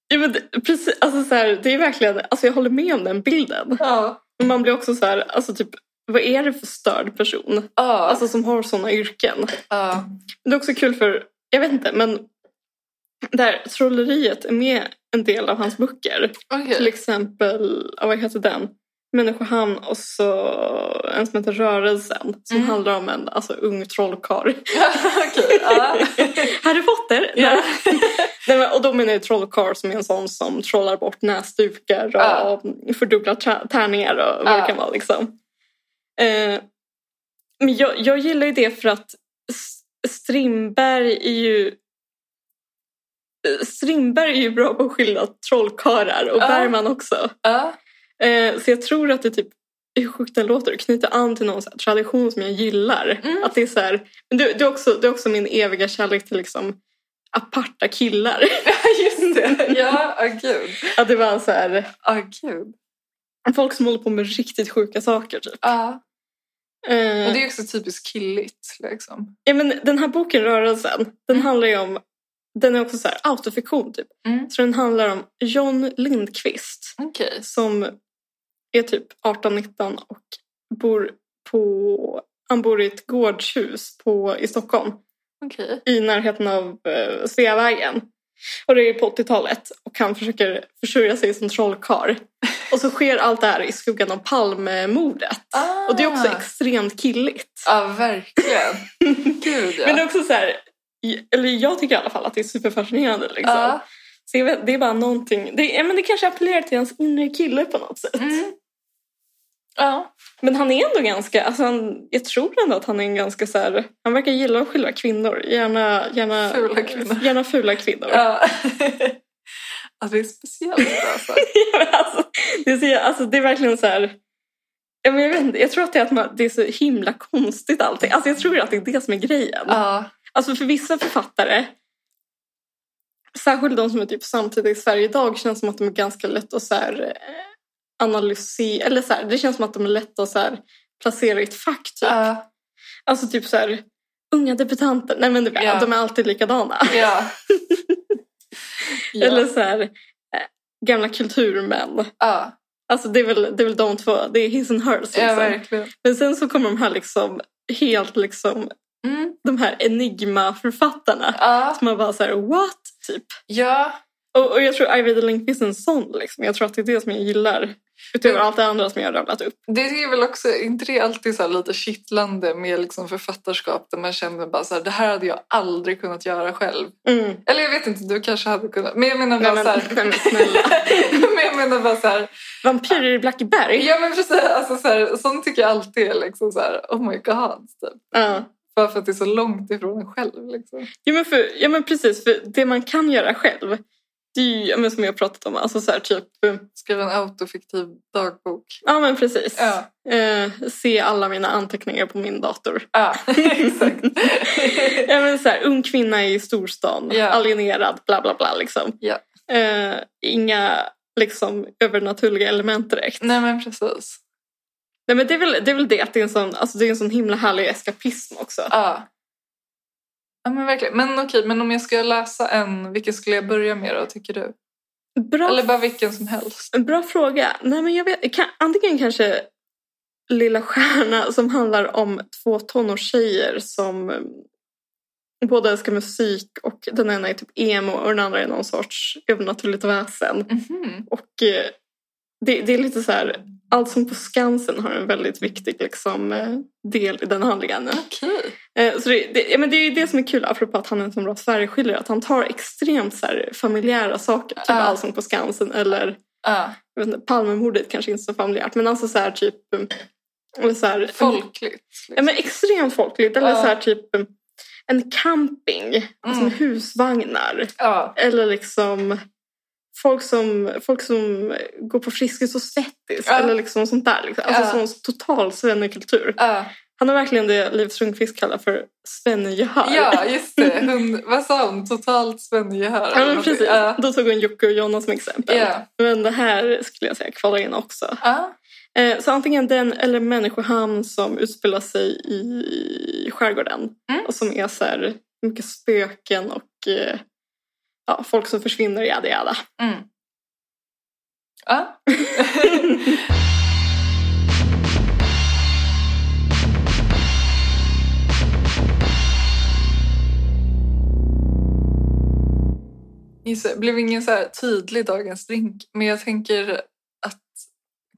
B: Ja, men det, precis, alltså så här, det är verkligen, alltså jag håller med om den bilden.
C: Ja.
B: Men Man blir också så här, alltså typ vad är det för störd person?
C: Ja,
B: Alltså som har sådana yrken.
C: ja.
B: Det är också kul för, jag vet inte, men där trolleriet är med en del av hans böcker. Till
C: Okej.
B: exempel, ja, vad heter den? Människohamn och så en som heter Rörelsen som
C: Mm.
B: handlar om en alltså, ung trollkarl.
C: Okej, ja.
B: Harry Potter!
C: Ja.
B: Nej, men, och då menar jag trollkarl som är en sån som trollar bort näsdukar och
C: Ja.
B: fördubblar tra- tärningar och vad
C: Ja.
B: det kan vara. Liksom. Eh, men jag, jag gillar ju det för att S- Strindberg är ju eh, Strindberg är ju bra på att skilja trollkarlar och
C: Ja.
B: Bergman också.
C: Ja.
B: Eh, så jag tror att det typ, hur sjukt den låter, knyter an till någon så här tradition som jag gillar.
C: Mm.
B: Att det är så här, men det, det, är också, det är också min eviga kärlek till liksom aparta killar.
C: Just det. Ja, åh gud.
B: att det var så här,
C: Åh gud.
B: folk som håller på med riktigt sjuka saker typ.
C: Ja.
B: Eh,
C: Och det är också typiskt killigt liksom.
B: ja, men den här boken Rörelsen, den
C: Mm.
B: handlar ju om, den är också så här autofiktion typ.
C: Mm.
B: Så den handlar om John Lindqvist.
C: Okej.
B: som är typ 18-19 och bor på, han bor i ett gårdshus på, i Stockholm
C: Okej.
B: i närheten av eh, Sveavägen. Och det är på 80-talet och han försöker försörja sig som trollkarl. Och så sker allt det här i skuggan av Palmemordet.
C: Ah.
B: Och det är också extremt killigt.
C: Ja, verkligen. Gud ja.
B: Men det är också så här, eller jag tycker i alla fall att det är superfascinerande liksom.
C: Ja.
B: Så jag vet, det är bara någonting, det, är- men det kanske appellerar till hans inre kille på något sätt.
C: Mm. Ja.
B: Men han är ändå ganska, alltså han, jag tror ändå att han är en ganska så här, han verkar gilla att skilja kvinnor. Gärna, gärna,
C: Fula kvinnor.
B: Gärna fula kvinnor.
C: Ja. Att det är speciellt alltså.
B: Ja, men alltså, det, är så, alltså, det är verkligen så här, ja, men jag, vet inte, jag tror att det är, att man, det är så himla konstigt allting. Alltså, jag tror att det är det som är grejen.
C: Ja.
B: Alltså för vissa författare, särskilt de som är typ samtidigt i Sverige idag, känns som att de är ganska lätt att så här, eh, analysera, eller så här, det känns som att de är lätt att så här, placera i ett fack typ.
C: Ja.
B: Alltså typ så här, unga debutanter. Nej men du vet,
C: Ja.
B: de är alltid likadana.
C: Ja.
B: Eller så här, eh, gamla kulturmän.
C: Ja,
B: Alltså det är, väl, det är väl de två, det är his and hers. Liksom.
C: ja verkligen.
B: men sen så kommer de här liksom, helt liksom,
C: Mm.
B: de här enigma-författarna.
C: Ja.
B: Som man bara så här, what? Typ.
C: ja,
B: Och, och jag tror Ajvide Lindqvist är en sån liksom. Jag tror att det är det som jag gillar. Utöver
C: Mm.
B: allt det andra som jag har rabblat upp.
C: Det är väl också, inte det alltid så här lite kittlande med liksom författarskap där man känner bara så här, det här hade jag aldrig kunnat göra själv.
B: Mm.
C: Eller jag vet inte, du kanske hade kunnat. Men jag menar
B: Nej,
C: bara
B: men,
C: så här...
B: nej, men snälla.
C: men jag menar bara så här...
B: Vampyrer i Blackeberg.
C: Ja men precis, alltså så här, sånt tycker jag alltid är liksom så här, oh my god. Typ.
B: Ja.
C: Bara för att det är så långt ifrån en själv liksom.
B: Ja men, för, ja men precis, för det man kan göra själv, det är ju ja, men som jag har pratat om, alltså så här typ,
C: Skriva en autofiktiv dagbok.
B: ja men precis.
C: Ja,
B: Eh, se alla mina anteckningar på min dator.
C: ja exakt.
B: Ja men så här, ung kvinna i storstan,
C: Ja.
B: alienerad, bla bla bla liksom.
C: Ja.
B: Eh, inga liksom övernaturliga element direkt.
C: Nej men precis.
B: Nej men det är väl det, är väl det att det är en sån, alltså det är en sån himla härlig eskapism också.
C: Ja. Ja men verkligen. Men okej, men om jag ska läsa en, vilken skulle jag börja med då tycker du?
B: Bra
C: Eller bara vilken som helst?
B: En bra fråga. Nej, men jag vet, kan, antingen kanske Lilla stjärna som handlar om två tonårstjejer som eh, båda älskar musik och den ena är typ emo och den andra är någon sorts övernaturligt väsen.
C: Mhm.
B: Och eh, det, det är lite så här, allt som på Skansen har en väldigt viktig liksom, eh, del i den handlingen.
C: Okej.
B: Eh, Så det, det, ja, men det är ju det som är kul apropå att han är en så bra Sverigeskildrare, att han tar extremt så här, familjära saker, typ
C: Ja.
B: Allsång på Skansen eller
C: Ja.
B: jag vet inte, Palmemordet kanske inte så familjärt, men alltså så här typ... um, Eller så här, mm,
C: Folkligt. liksom.
B: Ja, men extremt folkligt. Eller
C: Ja.
B: så här typ um, en camping, alltså med
C: Mm.
B: husvagnar.
C: Ja.
B: Eller liksom folk som, folk som går på Friskis och Svettis.
C: Ja.
B: Eller liksom sånt där. Liksom. Alltså
C: Ja.
B: sån total svennekultur.
C: Ja.
B: Han har verkligen det Liv Strömquist kallar för svennegehör.
C: ja, just det. Hon, vad sa hon? Totalt svennegehör.
B: Ja, men precis.
C: Ja.
B: Då tog hon Jocke och Jonna som exempel.
C: Ja.
B: Men det här skulle jag säga kvalar in också.
C: Ja.
B: Eh, Så antingen den eller människohamn som utspelar sig i skärgården.
C: Mm.
B: Och som är så här mycket spöken och eh, ja, folk som försvinner, jada jada.
C: Mm. Ja. Gissa, blev ingen så här tydlig dagens drink. Men jag tänker att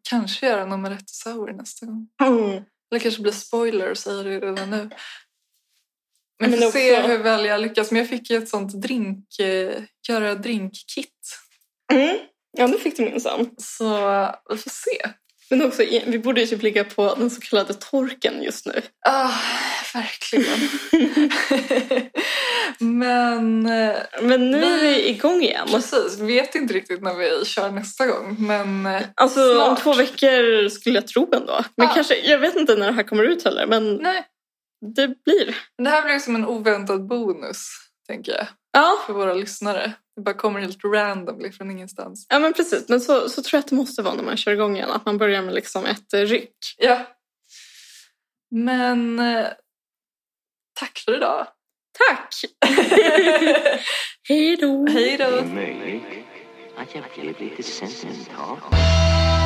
C: kanske göra en omelett och sour nästa gång.
B: Mm.
C: Eller kanske blir spoiler och säga det redan nu. Men,
B: Men
C: vi får se
B: också-
C: hur väl jag lyckas. Men jag fick ju ett sånt drink, eh, göra drinkkit.
B: Mm. Ja, nu fick du minsann.
C: Så vi får se.
B: Men också, i- vi borde ju typ ligga på den så kallade torken just nu.
C: Ja, Ah, verkligen. Men eh,
B: Men nu är vi igång igen.
C: precis, vet inte riktigt när vi kör nästa gång. Men eh,
B: Alltså om
C: Snart.
B: två veckor skulle jag tro ändå. Men
C: Ja.
B: kanske, jag vet inte när det här kommer ut heller. Men
C: nej,
B: det blir.
C: det här blev som en oväntad bonus, tänker jag,
B: Ja,
C: för våra lyssnare. Det bara kommer helt randomly från ingenstans.
B: ja men precis. Men så, så tror jag att det måste vara när man kör igång igen. Att man börjar med liksom ett eh, ryck.
C: Ja. Men eh, tack för idag.
B: Tack! Hej då!
C: Hej då.
A: möjligt att jag blev lite sentimental.